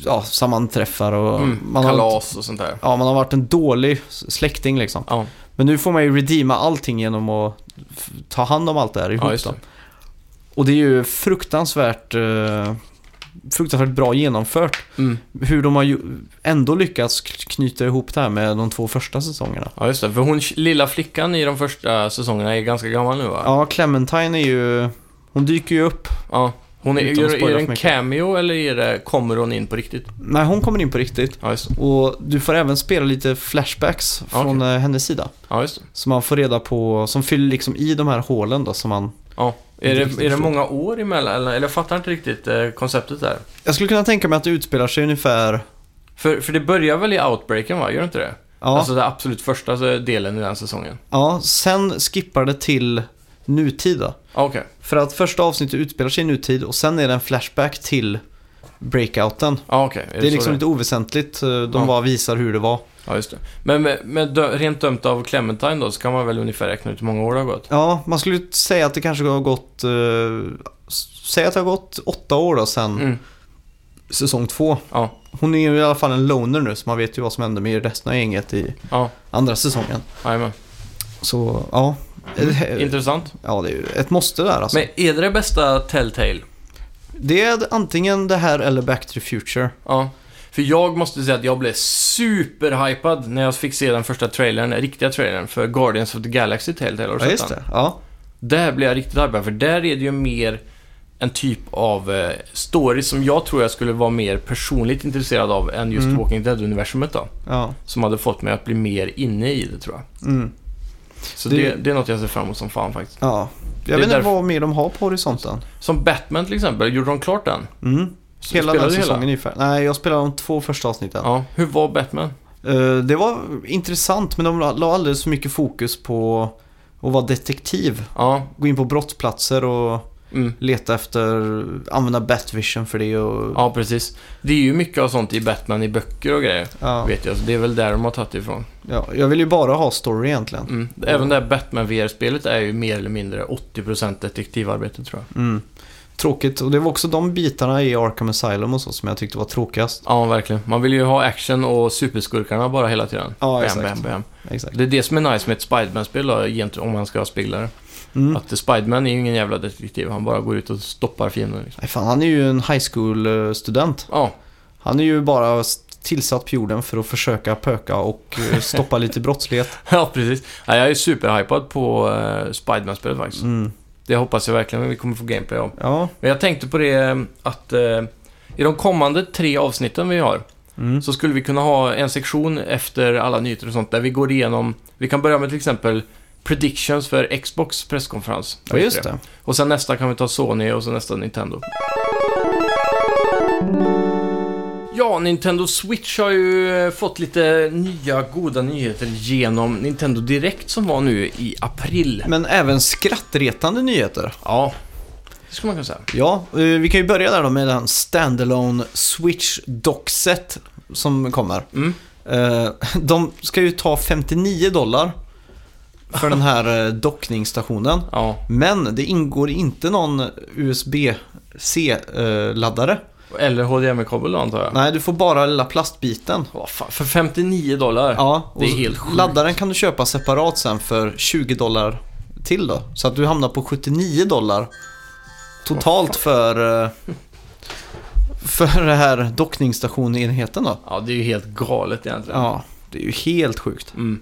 Speaker 1: ja, sammanträffar och...
Speaker 2: Mm.
Speaker 1: man har,
Speaker 2: Kalas och sånt där.
Speaker 1: ja, man har varit en dålig släkting liksom.
Speaker 2: Ja,
Speaker 1: Men nu får man ju redeema allting genom att f- ta hand om allt det här ihop
Speaker 2: ja just
Speaker 1: då.
Speaker 2: det.
Speaker 1: Och det är ju fruktansvärt, eh, fruktansvärt bra genomfört.
Speaker 2: Mm.
Speaker 1: Hur de har ju ändå lyckats k- knyta ihop det här med de två första säsongerna.
Speaker 2: Ja, just det. För hon, lilla flickan i de första säsongerna är ganska gammal nu, va?
Speaker 1: Ja, Clementine är ju... Hon dyker ju upp.
Speaker 2: Ja. Hon är,
Speaker 1: Utan att
Speaker 2: är, är
Speaker 1: spoila
Speaker 2: det
Speaker 1: för
Speaker 2: en
Speaker 1: mycket.
Speaker 2: cameo eller är det, kommer hon in på riktigt?
Speaker 1: Nej, hon kommer in på riktigt.
Speaker 2: Ja, just det.
Speaker 1: Och du får även spela lite flashbacks från eh, hennes sida.
Speaker 2: Ja, just det.
Speaker 1: Som man får reda på, som fyller liksom i de här hålen då som man...
Speaker 2: Ja. Är,
Speaker 1: Inte
Speaker 2: det,
Speaker 1: riktigt
Speaker 2: är det
Speaker 1: förstått.
Speaker 2: många år emellan? Eller, eller jag fattar inte riktigt eh, konceptet där.
Speaker 1: Jag skulle kunna tänka mig att det utspelar sig ungefär...
Speaker 2: För, för det börjar väl i outbreaken, va? Gör det inte det?
Speaker 1: Ja,
Speaker 2: Alltså den absolut första eh, delen i den säsongen.
Speaker 1: ja sen skippar det till nutida.
Speaker 2: Ja, Okej.
Speaker 1: För att första avsnittet utspelar sig i nutid och sen är det en flashback till breakouten.
Speaker 2: Ja, okej.
Speaker 1: Det är,
Speaker 2: det så
Speaker 1: liksom
Speaker 2: det
Speaker 1: lite oväsentligt. eh, De
Speaker 2: Ja.
Speaker 1: bara visar hur det var.
Speaker 2: Ja, just det. Men med, med dö- rent dömt av Clementine då, så kan man väl ungefär räkna ut hur många år det har gått?
Speaker 1: Ja, man skulle ju säga att det kanske har gått... Eh, säg att det har gått åtta år då sen
Speaker 2: Mm.
Speaker 1: säsong två.
Speaker 2: Ja,
Speaker 1: Hon är ju i alla fall en loner nu så man vet ju vad som hände med resten av gänget i
Speaker 2: ja,
Speaker 1: andra säsongen.
Speaker 2: jajamän.
Speaker 1: Så ja. Eh,
Speaker 2: Intressant.
Speaker 1: Ja, det är ju ett måste där alltså.
Speaker 2: Mm. Men är det det bästa Telltale?
Speaker 1: Det är antingen det här eller Back to the Future.
Speaker 2: Ja. För jag måste säga att jag blev superhypad när jag fick se den första trailern, den riktiga trailern, för Guardians of the Galaxy Telltale. Har du
Speaker 1: Ja,
Speaker 2: sett
Speaker 1: just
Speaker 2: den?
Speaker 1: det. Ja.
Speaker 2: Där blev jag riktigt hypad, för där är det ju mer en typ av eh, story som jag tror jag skulle vara mer personligt intresserad av än just
Speaker 1: Mm.
Speaker 2: Walking Dead-universumet då.
Speaker 1: ja.
Speaker 2: Som hade fått mig att bli mer inne i det tror jag.
Speaker 1: Mm.
Speaker 2: Så
Speaker 1: Det-
Speaker 2: det, det, är något jag ser fram emot som fan faktiskt.
Speaker 1: Ja,
Speaker 2: Det
Speaker 1: jag
Speaker 2: är
Speaker 1: vet inte
Speaker 2: därför-
Speaker 1: vad mer de har på horisonten.
Speaker 2: Som Batman till exempel, gjorde de klart den?
Speaker 1: Mm.
Speaker 2: S-
Speaker 1: Hela
Speaker 2: spelade
Speaker 1: den
Speaker 2: du hela?
Speaker 1: säsongen ungefär. Nej, jag spelade de två första avsnitten.
Speaker 2: Ja, hur var Batman?
Speaker 1: Eh, det var intressant, men de la la alldeles för mycket fokus på att vara detektiv.
Speaker 2: Ja,
Speaker 1: Gå in på brottsplatser och
Speaker 2: mm.
Speaker 1: leta efter, använda Batvision för det och...
Speaker 2: ja precis. Det är ju mycket av sånt i Batman i böcker och grejer.
Speaker 1: Ja.
Speaker 2: Vet jag, så det är väl där de har tagit ifrån.
Speaker 1: Ja, jag vill ju bara ha story egentligen.
Speaker 2: Mm. Även det här Batman VR-spelet är ju mer eller mindre 80% detektivarbete tror jag.
Speaker 1: Mm. Tråkigt, och det var också de bitarna i Arkham Asylum och så som jag tyckte var tråkigast.
Speaker 2: Ja, verkligen. Man vill ju ha action och superskurkarna bara hela tiden.
Speaker 1: Ja,
Speaker 2: bam,
Speaker 1: exakt.
Speaker 2: bam, bam.
Speaker 1: Exakt.
Speaker 2: Det är det som är nice med ett Spiderman-spel då, egentligen, om man ska spegla det.
Speaker 1: Mm.
Speaker 2: Att Spiderman är ju ingen jävla detektiv, han bara går ut och stoppar fienden liksom.
Speaker 1: Nej, fan, han är ju en high eh, school-student.
Speaker 2: Ja,
Speaker 1: Han är ju bara tillsatt på jorden för att försöka pöka och eh, stoppa lite brottslighet.
Speaker 2: ja precis. Ja, jag är superhypad på eh, Spiderman-spelet faktiskt.
Speaker 1: Mm.
Speaker 2: Det hoppas jag verkligen vi kommer få gameplay av.
Speaker 1: Ja.
Speaker 2: Men jag tänkte på det eh, att eh, i de kommande tre avsnitten vi har
Speaker 1: Mm.
Speaker 2: så skulle vi kunna ha en sektion efter alla nyheter och sånt där vi går igenom. Vi kan börja med till exempel predictions för Xbox presskonferens.
Speaker 1: Ja, just det.
Speaker 2: Och sen nästa kan vi ta Sony och sen nästa Nintendo. Ja, Nintendo Switch har ju eh, fått lite nya goda nyheter genom Nintendo Direct som var nu i april.
Speaker 1: Men även skrattretande nyheter.
Speaker 2: Ja, det skulle man kunna säga.
Speaker 1: Ja, eh, vi kan ju börja där då med den standalone Switch Dockset som kommer.
Speaker 2: Mm.
Speaker 1: Eh, De ska ju ta 59 dollar för den här eh, dockningsstationen.
Speaker 2: Ja,
Speaker 1: Men det ingår inte någon USB-C-laddare.
Speaker 2: eller HDMI-kabel då antar jag.
Speaker 1: eh, Nej, du får bara lilla plastbiten.
Speaker 2: Vad fan, för 59 dollar?
Speaker 1: Ja, och
Speaker 2: Det är helt sjukt.
Speaker 1: laddaren kan du köpa separat sen för 20 dollar till då. Så att du hamnar på 79 dollar totalt för, eh, för det här dockningsstationenheten då.
Speaker 2: Ja, det är ju helt galet egentligen.
Speaker 1: Ja, det är ju helt sjukt.
Speaker 2: Mm.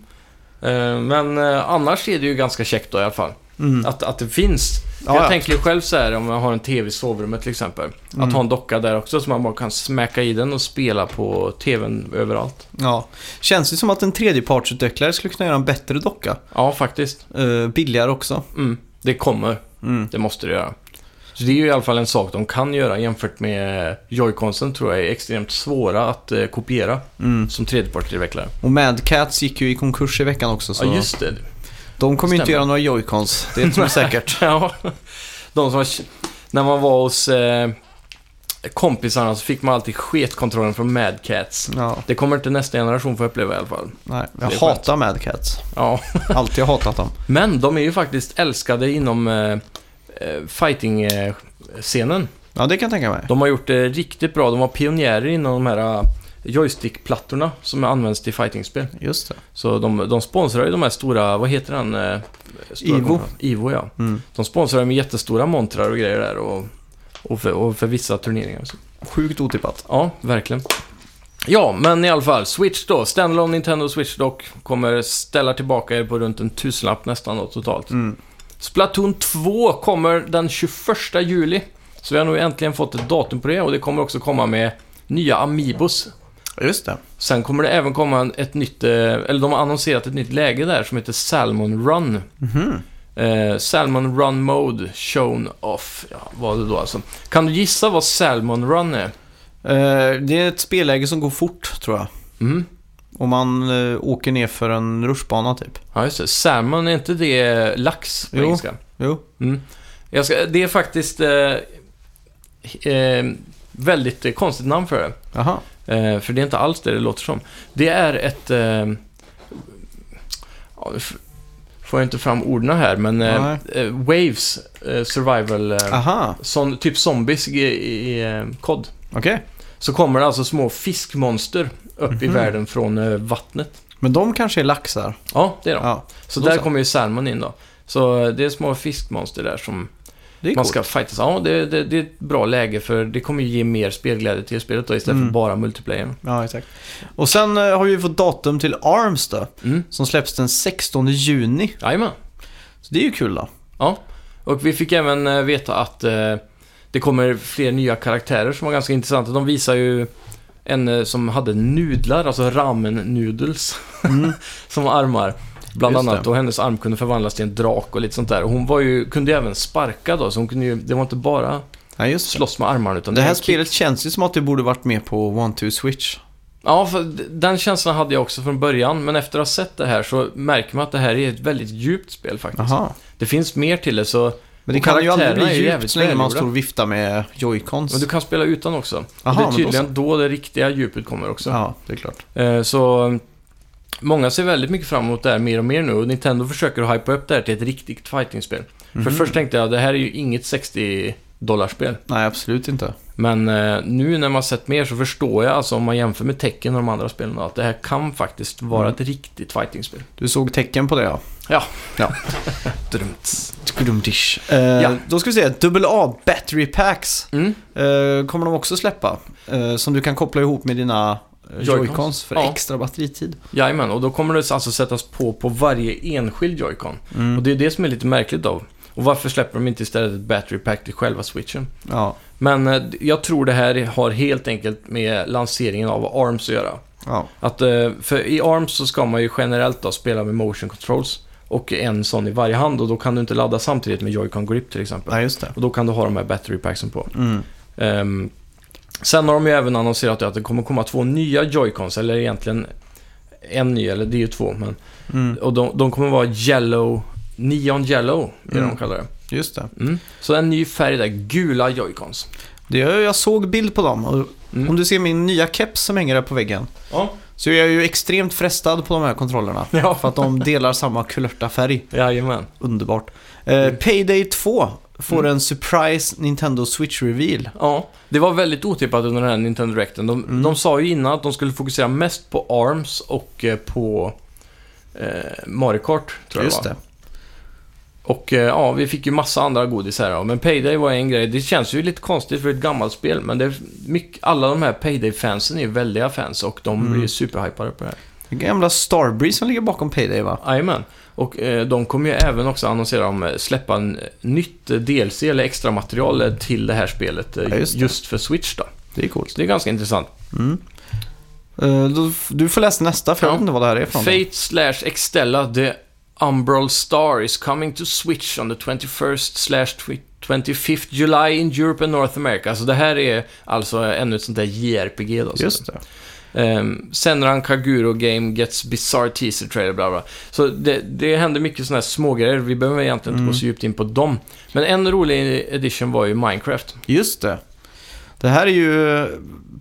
Speaker 2: Eh, men eh, annars är det ju ganska käckt då i alla fall.
Speaker 1: Mm.
Speaker 2: Att, att det finns.
Speaker 1: Ja,
Speaker 2: jag
Speaker 1: ja.
Speaker 2: tänker ju själv så här om jag har en TV i sovrummet till exempel.
Speaker 1: Mm.
Speaker 2: Att ha en docka där också så man bara kan smäcka i den och spela på TVn överallt.
Speaker 1: Ja. Känns det som att en tredjepartsutvecklare skulle kunna göra en bättre docka.
Speaker 2: Ja, faktiskt.
Speaker 1: Eh, billigare också.
Speaker 2: Mm. Det kommer.
Speaker 1: Mm.
Speaker 2: Det måste det göra. Så det är ju i alla fall en sak de kan göra jämfört med Joy-Consen tror jag är extremt svåra att eh, kopiera
Speaker 1: Mm.
Speaker 2: som tredjepartsutvecklare.
Speaker 1: Och Mad Cats gick ju i konkurs i veckan också så
Speaker 2: Ja, just det.
Speaker 1: De kommer ju inte
Speaker 2: Stämmer.
Speaker 1: göra några joycons, det tror jag säkert.
Speaker 2: Ja, de som var, när man var hos eh, kompisarna så fick man alltid sketkontrollen från Mad Cats.
Speaker 1: Ja,
Speaker 2: Det kommer inte nästa generation få uppleva i alla fall.
Speaker 1: nej.
Speaker 2: är
Speaker 1: Jag
Speaker 2: skönt.
Speaker 1: hatar Mad Cats.
Speaker 2: Ja.
Speaker 1: Alltid hatat dem.
Speaker 2: Men de är ju faktiskt älskade inom eh, eh, fighting-scenen.
Speaker 1: Ja, det kan jag tänka mig.
Speaker 2: De har gjort det riktigt bra. De var pionjärer inom de här eh, joystick-plattorna som används till fightingspel.
Speaker 1: Just det.
Speaker 2: Så de, de sponsrar ju de här stora, vad heter den? eh, Stora
Speaker 1: Ivo.
Speaker 2: konferensen? Ivo, ja.
Speaker 1: Mm.
Speaker 2: De sponsrar med jättestora montrar och grejer där och, och, för, och för vissa turneringar. Så.
Speaker 1: Sjukt otippat.
Speaker 2: Ja, verkligen. Ja, men i alla fall, Switch då. Standalone Nintendo Switch dock kommer ställa tillbaka er på runt en tusenlapp nästan då, totalt.
Speaker 1: Mm.
Speaker 2: Splatoon 2 kommer den 21 juli. Så vi har nog äntligen fått ett datum på det och det kommer också komma med nya Amiibos.
Speaker 1: Just det.
Speaker 2: Sen kommer det även komma en- ett nytt, eh, eller de har annonserat ett nytt läge där som heter Salmon Run.
Speaker 1: Mhm.
Speaker 2: Eh, Salmon Run Mode shown off. Ja, vad det då alltså. Kan du gissa vad Salmon Run är?
Speaker 1: Eh, det är ett spelläge som går fort, tror jag.
Speaker 2: Mm.
Speaker 1: Och man eh, åker ner för en rutschbana, typ.
Speaker 2: Ja, just det. Salmon, är inte det lax på
Speaker 1: Jo.
Speaker 2: engelska?
Speaker 1: Jo.
Speaker 2: Mm. Jag ska, det är faktiskt eh, eh, väldigt eh, konstigt namn för det.
Speaker 1: Jaha.
Speaker 2: Eh, för det är inte alls det det låter som. Det är ett... Eh, ja, f- får jag inte fram orden här, men... Eh,
Speaker 1: Nej. Ah.
Speaker 2: eh, waves eh, survival... Eh,
Speaker 1: Aha.
Speaker 2: sån, typ zombies i, i eh, kod.
Speaker 1: Okej.
Speaker 2: Så kommer det alltså små fiskmonster upp i
Speaker 1: Mhm.
Speaker 2: världen från eh, vattnet.
Speaker 1: Men de kanske är laxar.
Speaker 2: Ja, det är de.
Speaker 1: Ja.
Speaker 2: så
Speaker 1: Ah, då
Speaker 2: där
Speaker 1: så.
Speaker 2: kommer ju salmon in då. Så eh, det är små fiskmonster där som
Speaker 1: Det är
Speaker 2: man
Speaker 1: coolt.
Speaker 2: ska fightas. Ja, det, det, det är ett bra läge för det kommer ju ge mer spelglädje till spelet då istället
Speaker 1: Mm.
Speaker 2: för bara multiplayer.
Speaker 1: Ja, exakt. Och sen eh, har vi fått datum till Arms då,
Speaker 2: Mm.
Speaker 1: som släpps den 16 juni.
Speaker 2: Jajamän.
Speaker 1: Så det är ju kul då.
Speaker 2: Ja, och vi fick även eh, veta att eh, det kommer fler nya karaktärer som var ganska intressanta. De visar ju en eh, som hade nudlar, alltså ramen noodles,
Speaker 1: Mm.
Speaker 2: som armar. Bland
Speaker 1: Just
Speaker 2: annat,
Speaker 1: det.
Speaker 2: och hennes arm kunde förvandlas till en drake och lite sånt där. Och hon var ju, kunde ju även sparka då, så hon kunde ju, det var inte bara
Speaker 1: Ja, just det.
Speaker 2: slåss med armarna utan
Speaker 1: Det här
Speaker 2: var kick.
Speaker 1: spelet känns ju som att det borde varit med på One Two Switch.
Speaker 2: Ja, för d- den känslan hade jag också från början, men efter att ha sett det här så märker man att det här är ett väldigt djupt spel faktiskt.
Speaker 1: Jaha.
Speaker 2: Det finns mer till det, så...
Speaker 1: Men det
Speaker 2: Och
Speaker 1: kan ju aldrig
Speaker 2: karaktärerna är
Speaker 1: bli
Speaker 2: ju
Speaker 1: djupt
Speaker 2: jävligt
Speaker 1: så länge man
Speaker 2: välgjorda.
Speaker 1: står och viftar med
Speaker 2: Men
Speaker 1: joycons.
Speaker 2: du kan spela utan också.
Speaker 1: Jaha,
Speaker 2: det
Speaker 1: men
Speaker 2: är
Speaker 1: då
Speaker 2: tydligen då, det riktiga djupet kommer också.
Speaker 1: Ja, det är klart.
Speaker 2: Eh, Så eh, många ser väldigt mycket fram emot det här mer och mer nu och Nintendo försöker att hypa upp det här till ett riktigt fightingspel. För
Speaker 1: Mhm.
Speaker 2: först tänkte jag det här är ju inget 60 dollarspel.
Speaker 1: Nej, absolut inte.
Speaker 2: Men eh, nu när man sett mer så förstår jag, alltså om man jämför med tecken och de andra spelen, att det här kan faktiskt vara
Speaker 1: Mm.
Speaker 2: ett riktigt fightingspel.
Speaker 1: Du såg tecken på det ja.
Speaker 2: Drömt.
Speaker 1: Skrumdish. Eh, Då ska vi se, AA Battery Packs
Speaker 2: Mm.
Speaker 1: eh, kommer de också släppa. Eh, som du kan koppla ihop med dina eh,
Speaker 2: Joy-Cons.
Speaker 1: joycons för
Speaker 2: Ja.
Speaker 1: extra batteritid.
Speaker 2: Jajamän, och då kommer det alltså sättas på på varje enskild Joy-Con.
Speaker 1: Mm.
Speaker 2: Och det är det som är lite märkligt då. Och varför släpper de inte istället ett battery pack till själva switchen?
Speaker 1: Ja,
Speaker 2: Men eh, jag tror det här har helt enkelt med lanseringen av ARMS att göra.
Speaker 1: ja.
Speaker 2: Att, eh, för i ARMS så ska man ju generellt då spela med motion controls och en sån i varje hand och då kan du inte ladda samtidigt med Joy-Con Grip till exempel.
Speaker 1: Nej, just det.
Speaker 2: Och då kan du ha de här battery packsen på.
Speaker 1: Mm.
Speaker 2: Ehm, sen har de ju även annonserat att det kommer komma två nya Joy-Cons, eller egentligen en ny, eller det är ju två. Men,
Speaker 1: Mm.
Speaker 2: och de, de kommer vara yellow, neon yellow, är det
Speaker 1: Mm.
Speaker 2: de kallar det.
Speaker 1: Just det.
Speaker 2: Mm. Så en ny färg där, gula Joy-Cons.
Speaker 1: det jag, jag såg bild på dem. Och
Speaker 2: Mm.
Speaker 1: Om du ser min nya keps som hänger där på väggen. Så jag är ju extremt frestad på de här kontrollerna.
Speaker 2: Ja.
Speaker 1: För att de delar samma kulörta färg.
Speaker 2: Jajamän.
Speaker 1: Underbart. Eh, Payday 2 får
Speaker 2: Mm.
Speaker 1: en surprise Nintendo Switch-reveal.
Speaker 2: Ja, det var väldigt otippat under den här Nintendo Directen. De,
Speaker 1: Mm.
Speaker 2: de sa ju innan att de skulle fokusera mest på ARMS och eh, på eh, Mario Kart, tror jag
Speaker 1: Just
Speaker 2: det var.
Speaker 1: det.
Speaker 2: Och eh, ja, vi fick ju massa andra godis här då. Men Payday var en grej. Det känns ju lite konstigt för ett gammalt spel, men det är mycket, alla de här Payday-fansen är ju väldiga fans och de
Speaker 1: Mm.
Speaker 2: blir superhypade på det här.
Speaker 1: Det gamla Starbreeze som ligger bakom Payday va?
Speaker 2: Jajamän. Och eh, de kommer ju även också annonsera om eh, släppa en eh, nytt eh, DLC eller extra material eh, till det här spelet eh,
Speaker 1: Ja, just
Speaker 2: just,
Speaker 1: det.
Speaker 2: för Switch då.
Speaker 1: Det är coolt.
Speaker 2: Så det är ganska intressant.
Speaker 1: Mm. Eh, då, f- du får läsa nästa för jag
Speaker 2: Ja.
Speaker 1: vet inte vad det här är från.
Speaker 2: Fate slash Extella The Umbral Star is coming to Switch on the 21st slash twi- 25th alltså July in Europe and North America. Så det här är alltså ännu ett sånt där JRPG då.
Speaker 1: Just det.
Speaker 2: Ehm, Senran Kaguro Game gets bizarre teaser trailer, bla bla. Så det, det hände mycket sådana här smågrejer. Vi behöver egentligen
Speaker 1: Mm.
Speaker 2: inte gå så djupt in på dem. Men en rolig edition var ju Minecraft.
Speaker 1: Just det. Det här är ju... eh,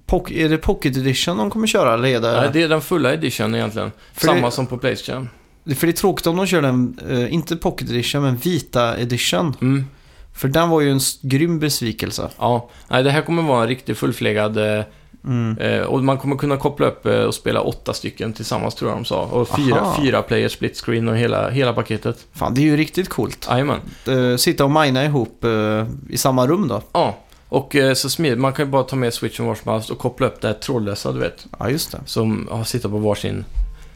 Speaker 1: Poc- är det Pocket Edition de kommer köra? Eller är det...
Speaker 2: Nej, det är den fulla edition egentligen.
Speaker 1: Äh. För
Speaker 2: Samma
Speaker 1: det-
Speaker 2: som på Playstation.
Speaker 1: För det är tråkigt om de kör den, eh, inte Pocket Edition, men Vita Edition.
Speaker 2: Mm.
Speaker 1: För den var ju en s- grym besvikelse.
Speaker 2: Ja, nej det här kommer vara en riktig fullfläggad eh,
Speaker 1: Mm.
Speaker 2: eh, och man kommer kunna koppla upp eh, och spela åtta stycken tillsammans tror jag de sa. Och fyra,
Speaker 1: Aha.
Speaker 2: fyra player split screen och hela, hela paketet.
Speaker 1: Fan, det är ju riktigt coolt.
Speaker 2: Jajamän.
Speaker 1: Eh, sitta och mina ihop eh, i samma rum då.
Speaker 2: Ja, och eh, så smidigt. Man kan ju bara ta med switchen var som helst och koppla upp det här trådlösa, du vet.
Speaker 1: Ja, just det.
Speaker 2: Som ja, sitter på varsin.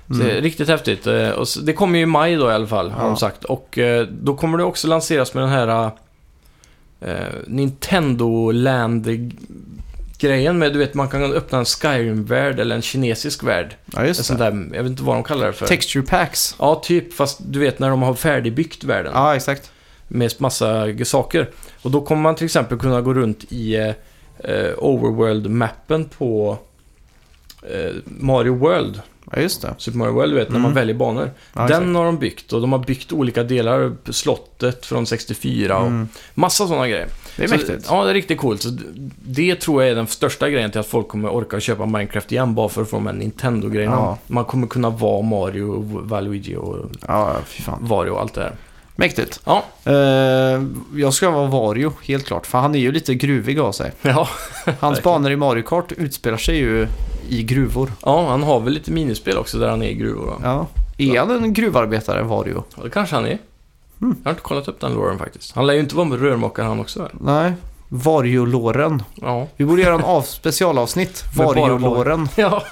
Speaker 2: Så
Speaker 1: Mm.
Speaker 2: det är riktigt häftigt. Eh, och så, det kommer ju i maj då i alla fall, har
Speaker 1: Ja.
Speaker 2: de sagt. Och eh, då kommer det också lanseras med den här eh, Nintendo Land-grejen med, du vet, man kan öppna en Skyrim-värld eller en kinesisk värld.
Speaker 1: Ja,
Speaker 2: En
Speaker 1: just
Speaker 2: sån
Speaker 1: det.
Speaker 2: där, jag vet inte vad de kallar det för.
Speaker 1: Texture packs.
Speaker 2: Ja, typ. Fast du vet när de har färdigbyggt världen
Speaker 1: Ja, exakt.
Speaker 2: med massa g- saker. Och då kommer man till exempel kunna gå runt i eh, eh, Overworld-mappen på eh, Mario World.
Speaker 1: Ja, just det.
Speaker 2: Super Mario World, du vet, när man
Speaker 1: Mm.
Speaker 2: väljer banor.
Speaker 1: Ja,
Speaker 2: Den har de byggt och de har byggt olika delar. Slottet från 64 och
Speaker 1: Mm.
Speaker 2: massa sådana grejer.
Speaker 1: Det är
Speaker 2: Så-
Speaker 1: mäktigt.
Speaker 2: Ja, det är riktigt coolt. Så d- det tror jag är den största grejen till att folk kommer orka köpa Minecraft igen bara för att få de här Nintendo-grejerna.
Speaker 1: Ja.
Speaker 2: Man kommer kunna vara Mario, och Waluigi och
Speaker 1: Ja, fy fan.
Speaker 2: Vario och allt det där.
Speaker 1: Mäktigt.
Speaker 2: Ja,
Speaker 1: Eh, jag ska vara Vario, helt klart. För han är ju lite gruvig av sig.
Speaker 2: ja.
Speaker 1: Hans banor i Mario Kart utspelar sig ju i gruvor.
Speaker 2: ja han har väl lite minispel också där han är i gruvor. va?
Speaker 1: Ja. Är han en gruvarbetare, Vario?
Speaker 2: Ja. Det kanske han är.
Speaker 1: Mm.
Speaker 2: Jag har inte kollat upp den låren faktiskt. Han lär ju inte vara med rörmokare han också. väl?
Speaker 1: Nej. Vario-låren.
Speaker 2: Ja.
Speaker 1: Vi borde göra en av specialavsnitt.
Speaker 2: Med bara
Speaker 1: Vario-låren.
Speaker 2: Ja.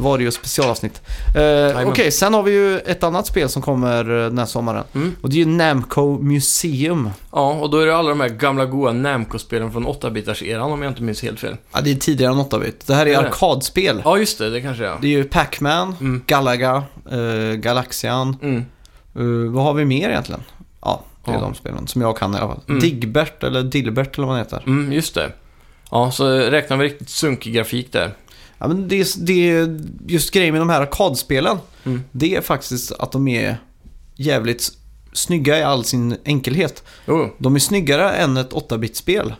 Speaker 1: Vario specialavsnitt. Eh, Okej, sen har vi ju ett annat spel som kommer eh, den här sommaren.
Speaker 2: Mm.
Speaker 1: Och det är ju Namco Museum.
Speaker 2: ja, och då är det alla de här gamla goa Namco-spelen från 8-bitars-eran om jag inte minns helt fel.
Speaker 1: Ja, det är tidigare än 8-bit. Det här är
Speaker 2: Är det?
Speaker 1: arkadspel.
Speaker 2: Ja, just det. Det kanske det är.
Speaker 1: Det är ju Pac-Man,
Speaker 2: Mm.
Speaker 1: Galaga, eh, Galaxian.
Speaker 2: Mm.
Speaker 1: Eh, vad har vi mer egentligen? Ja, det är
Speaker 2: Ja.
Speaker 1: de spelen som jag kan i alla fall.
Speaker 2: Mm.
Speaker 1: Digbert eller Dilbert eller vad han heter.
Speaker 2: Mm, just det. Ja, så räknar vi riktigt sunkig grafik där.
Speaker 1: Ja, men det, är- det, är- just grejen med de här arkadspelen,
Speaker 2: Mm.
Speaker 1: det är faktiskt att de är jävligt snygga i all sin enkelhet.
Speaker 2: Jo,
Speaker 1: De är snyggare än ett 8-bit-spel.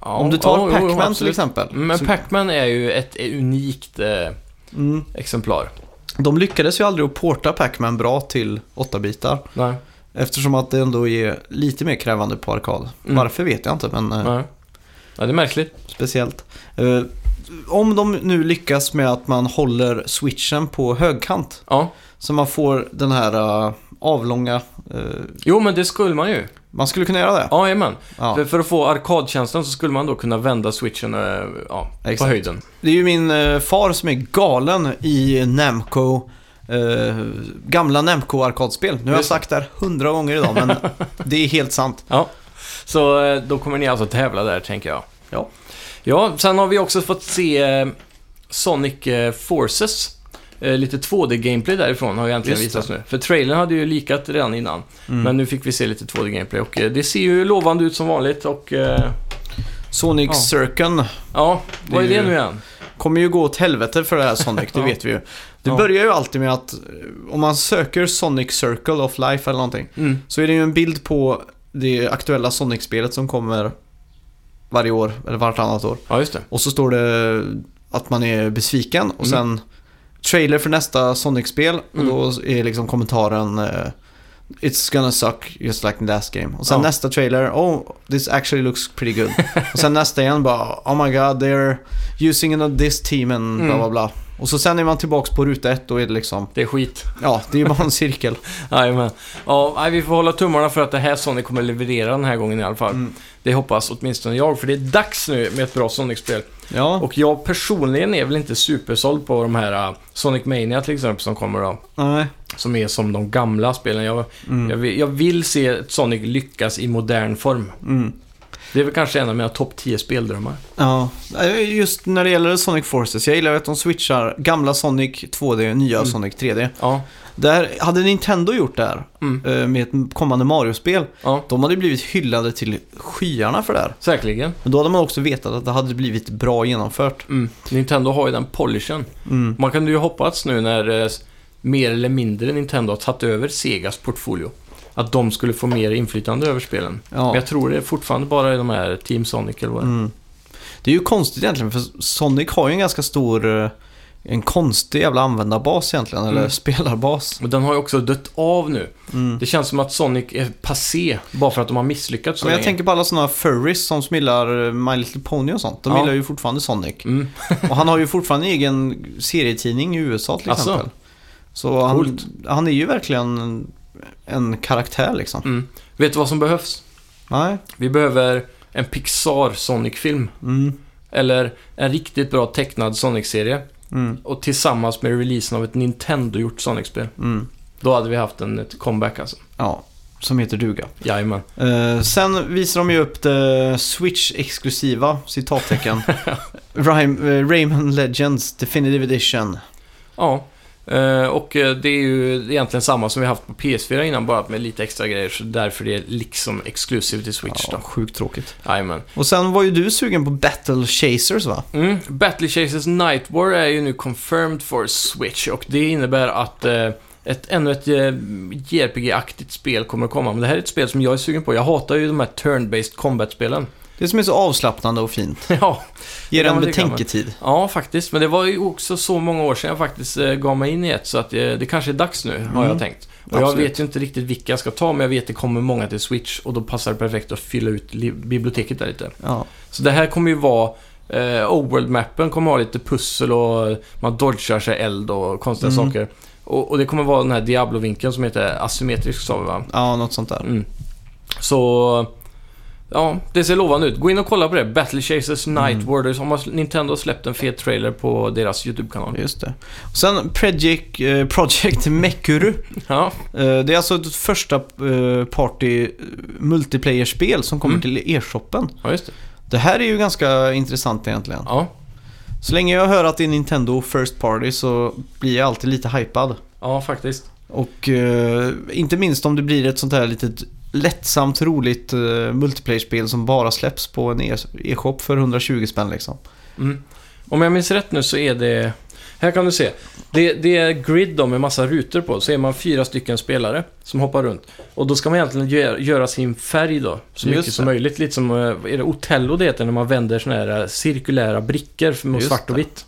Speaker 2: ja,
Speaker 1: Om du tar
Speaker 2: ja, jo,
Speaker 1: Pac-Man till
Speaker 2: absolut.
Speaker 1: exempel.
Speaker 2: Men
Speaker 1: så,
Speaker 2: Pac-Man är ju ett unikt eh,
Speaker 1: mm,
Speaker 2: exemplar.
Speaker 1: de lyckades ju aldrig att porta Pac-Man bra till 8-bitar.
Speaker 2: Nej,
Speaker 1: Eftersom att det ändå är lite mer krävande på arkad.
Speaker 2: Mm.
Speaker 1: Varför vet jag inte, men eh,
Speaker 2: nej. Ja, det är märkligt.
Speaker 1: speciellt. Eh, om de nu lyckas med att man håller switchen på högkant.
Speaker 2: Ja.
Speaker 1: Så man får den här eh, avlånga... eh,
Speaker 2: Jo, men det skulle man ju.
Speaker 1: man skulle kunna göra det.
Speaker 2: Ja, jajamän.
Speaker 1: Ja.
Speaker 2: För, för att få arkadkänslan så skulle man då kunna vända switchen eh, ja, på
Speaker 1: Exakt.
Speaker 2: höjden.
Speaker 1: Det är ju min eh, far som är galen i Namco. eh, gamla Namco-arkadspel. Nu har jag
Speaker 2: Just det.
Speaker 1: sagt det här hundra gånger idag, men det är helt sant.
Speaker 2: Ja. Så eh, då kommer ni alltså tävla där, tänker jag.
Speaker 1: Ja.
Speaker 2: Ja, sen har vi också fått se eh, Sonic eh, Forces. Eh, lite 2D-gameplay därifrån har ju äntligen
Speaker 1: Just det. Mm.
Speaker 2: visats nu. För trailern hade ju likat redan innan. Men nu fick vi se lite 2D-gameplay och eh, det ser ju lovande ut som vanligt och... Eh,
Speaker 1: Sonic
Speaker 2: Ja.
Speaker 1: Circun
Speaker 2: ja,
Speaker 1: Det
Speaker 2: vad är
Speaker 1: är
Speaker 2: det
Speaker 1: ju-
Speaker 2: nu igen?
Speaker 1: kommer ju gå åt helvete för det här Sonic, det
Speaker 2: Ja.
Speaker 1: vet vi ju. Det
Speaker 2: Ja.
Speaker 1: börjar ju alltid med att eh, om man söker Sonic Circle of Life eller någonting
Speaker 2: Mm.
Speaker 1: så är det ju en bild på det aktuella Sonic-spelet som kommer varje år eller vartannat år.
Speaker 2: Ja, just det.
Speaker 1: Och så står det att man är besviken och sen trailer för nästa Sonic-spel och
Speaker 2: Mm.
Speaker 1: då är liksom kommentaren eh, It's gonna suck just like the last game. Och sen
Speaker 2: Ja.
Speaker 1: nästa trailer, oh this actually looks pretty good. och sen nästa igen bara oh my god they're using it on this team and bla
Speaker 2: Mm.
Speaker 1: bla bla. Och så sen är man tillbaks på ruta ett och är det liksom,
Speaker 2: Det är skit.
Speaker 1: ja det är ju bara en cirkel.
Speaker 2: Jajamän. Ja, nej, vi får hålla tummarna för att det här Sonic kommer leverera den här gången i alla fall.
Speaker 1: Mm.
Speaker 2: Det hoppas åtminstone jag, för det är dags nu med ett bra Sonic-spel.
Speaker 1: Ja,
Speaker 2: Och jag personligen är väl inte supersåld på de här eh, Sonic Mania till exempel som kommer då.
Speaker 1: nej.
Speaker 2: Som är som de gamla spelen. Jag,
Speaker 1: Mm.
Speaker 2: jag, vill, jag vill se Sonic lyckas i modern form.
Speaker 1: Mm.
Speaker 2: Det är väl kanske en av mina topp 10 speldrömmar.
Speaker 1: Ja, just när det gäller Sonic Forces. Jag gillar att de switchar gamla Sonic 2D, nya
Speaker 2: Mm.
Speaker 1: Sonic 3D.
Speaker 2: Ja,
Speaker 1: Där, hade Nintendo gjort det här
Speaker 2: Mm.
Speaker 1: eh, med ett kommande Mario-spel,
Speaker 2: ja.
Speaker 1: de hade blivit hyllade till skyarna för det här.
Speaker 2: Säkerligen.
Speaker 1: Men då hade man också vetat att det hade blivit bra genomfört.
Speaker 2: Mm. Nintendo har ju den polishen.
Speaker 1: Mm.
Speaker 2: Man kan ju hoppats nu när eh, s- mer eller mindre Nintendo har tagit över Segas portfolio. Att de skulle få mer inflytande över spelen. Men
Speaker 1: Ja.
Speaker 2: jag tror det är fortfarande bara i de här Team Sonic eller vad det är.
Speaker 1: Mm. Det är ju konstigt egentligen, för Sonic har ju en ganska stor, eh, en konstig jävla användarbas egentligen, eller
Speaker 2: Mm.
Speaker 1: spelarbas.
Speaker 2: Och den har ju också dött av nu.
Speaker 1: Mm.
Speaker 2: Det känns som att Sonic är passé bara för att de har misslyckats så
Speaker 1: Men jag
Speaker 2: länge.
Speaker 1: tänker på alla sådana furries som gillar eh, My Little Pony och sånt. De
Speaker 2: Ja.
Speaker 1: gillar ju fortfarande Sonic.
Speaker 2: Mm.
Speaker 1: Och han har ju fortfarande egen serietidning i USA till
Speaker 2: Asså?
Speaker 1: exempel. Så han,
Speaker 2: Coolt.
Speaker 1: han är ju verkligen en- en karaktär liksom.
Speaker 2: Mm. Vet du vad som behövs?
Speaker 1: Nej.
Speaker 2: Vi behöver en Pixar Sonic-film.
Speaker 1: Mm.
Speaker 2: Eller en riktigt bra tecknad Sonic-serie.
Speaker 1: Mm.
Speaker 2: Och tillsammans med releasen av ett Nintendo-gjort Sonic-spel.
Speaker 1: Mm.
Speaker 2: Då hade vi haft en ett comeback alltså.
Speaker 1: Ja, som heter duga.
Speaker 2: Jajamän.
Speaker 1: Eh, sen visar de ju upp det Switch-exklusiva, citattecken. Rhyme, eh, Rayman Legends Definitive Edition.
Speaker 2: Ja. eh, Och eh, det är ju egentligen samma som vi haft på PS4 innan, bara med lite extra grejer. Så därför det är liksom exklusivt till Switch
Speaker 1: Ja,
Speaker 2: då.
Speaker 1: sjukt tråkigt.
Speaker 2: Jajamän.
Speaker 1: Och sen var ju du sugen på Battle Chasers va?
Speaker 2: Mm. Battle Chasers Night War är ju nu confirmed for Switch och det innebär att eh, ett, ännu ett eh, JRPG-aktigt spel kommer att komma. Men det här är ett spel som jag är sugen på. Jag hatar ju de här turn-based combat-spelen.
Speaker 1: Det som är så avslappnande och fint.
Speaker 2: ja,
Speaker 1: Ger
Speaker 2: Det kan
Speaker 1: en
Speaker 2: man tycka, men-
Speaker 1: betänketid.
Speaker 2: ja, faktiskt. Men det var ju också så många år sedan jag faktiskt eh, gav mig in i ett, så att eh, det kanske är dags nu, har
Speaker 1: Mm.
Speaker 2: jag tänkt. Och jag
Speaker 1: Absolut.
Speaker 2: vet ju inte riktigt vilka jag ska ta, men jag vet att det kommer många till Switch och då passar det perfekt att fylla ut li- biblioteket där lite.
Speaker 1: Ja.
Speaker 2: Så det här kommer ju vara... Eh, Overworld-mappen kommer ha lite pussel och man dodgar sig eld och konstiga
Speaker 1: Mm.
Speaker 2: saker. Och, och det kommer vara den här Diablo-vinkeln som heter asymmetrisk sa vi va?
Speaker 1: ja, något sånt där.
Speaker 2: Mm. Så... Ja, det ser lovande ut. Gå in och kolla på det. Battle Chasers Night
Speaker 1: Mm.
Speaker 2: Warders. Om har- Nintendo har släppt en fet trailer på deras YouTube-kanal.
Speaker 1: Just det. Och sen Project, eh, Project Mekuru.
Speaker 2: Ja,
Speaker 1: Eh, det är alltså ett första eh, party eh, multiplayer-spel som kommer
Speaker 2: Mm.
Speaker 1: till e-shoppen.
Speaker 2: ja just det.
Speaker 1: Det här är ju ganska intressant egentligen.
Speaker 2: Ja.
Speaker 1: Så länge jag hör att det är Nintendo First Party så blir jag alltid lite hypad.
Speaker 2: ja, faktiskt.
Speaker 1: Och eh, inte minst om det blir ett sånt här litet lättsamt, roligt eh, multiplayer-spel som bara släpps på en e- e-shop för 120 spänn liksom.
Speaker 2: Mm. Om jag minns rätt nu så är det... Här kan du se. Det, det är grid då med massa rutor på. Så är man fyra stycken spelare som hoppar runt. Och då ska man egentligen göra, göra sin färg då. Så
Speaker 1: Just
Speaker 2: mycket som
Speaker 1: det.
Speaker 2: möjligt. Lite som... eh, Är det Otello det heter? När man vänder såna här eh, cirkulära brickor mot
Speaker 1: Just
Speaker 2: svart och
Speaker 1: det.
Speaker 2: vitt.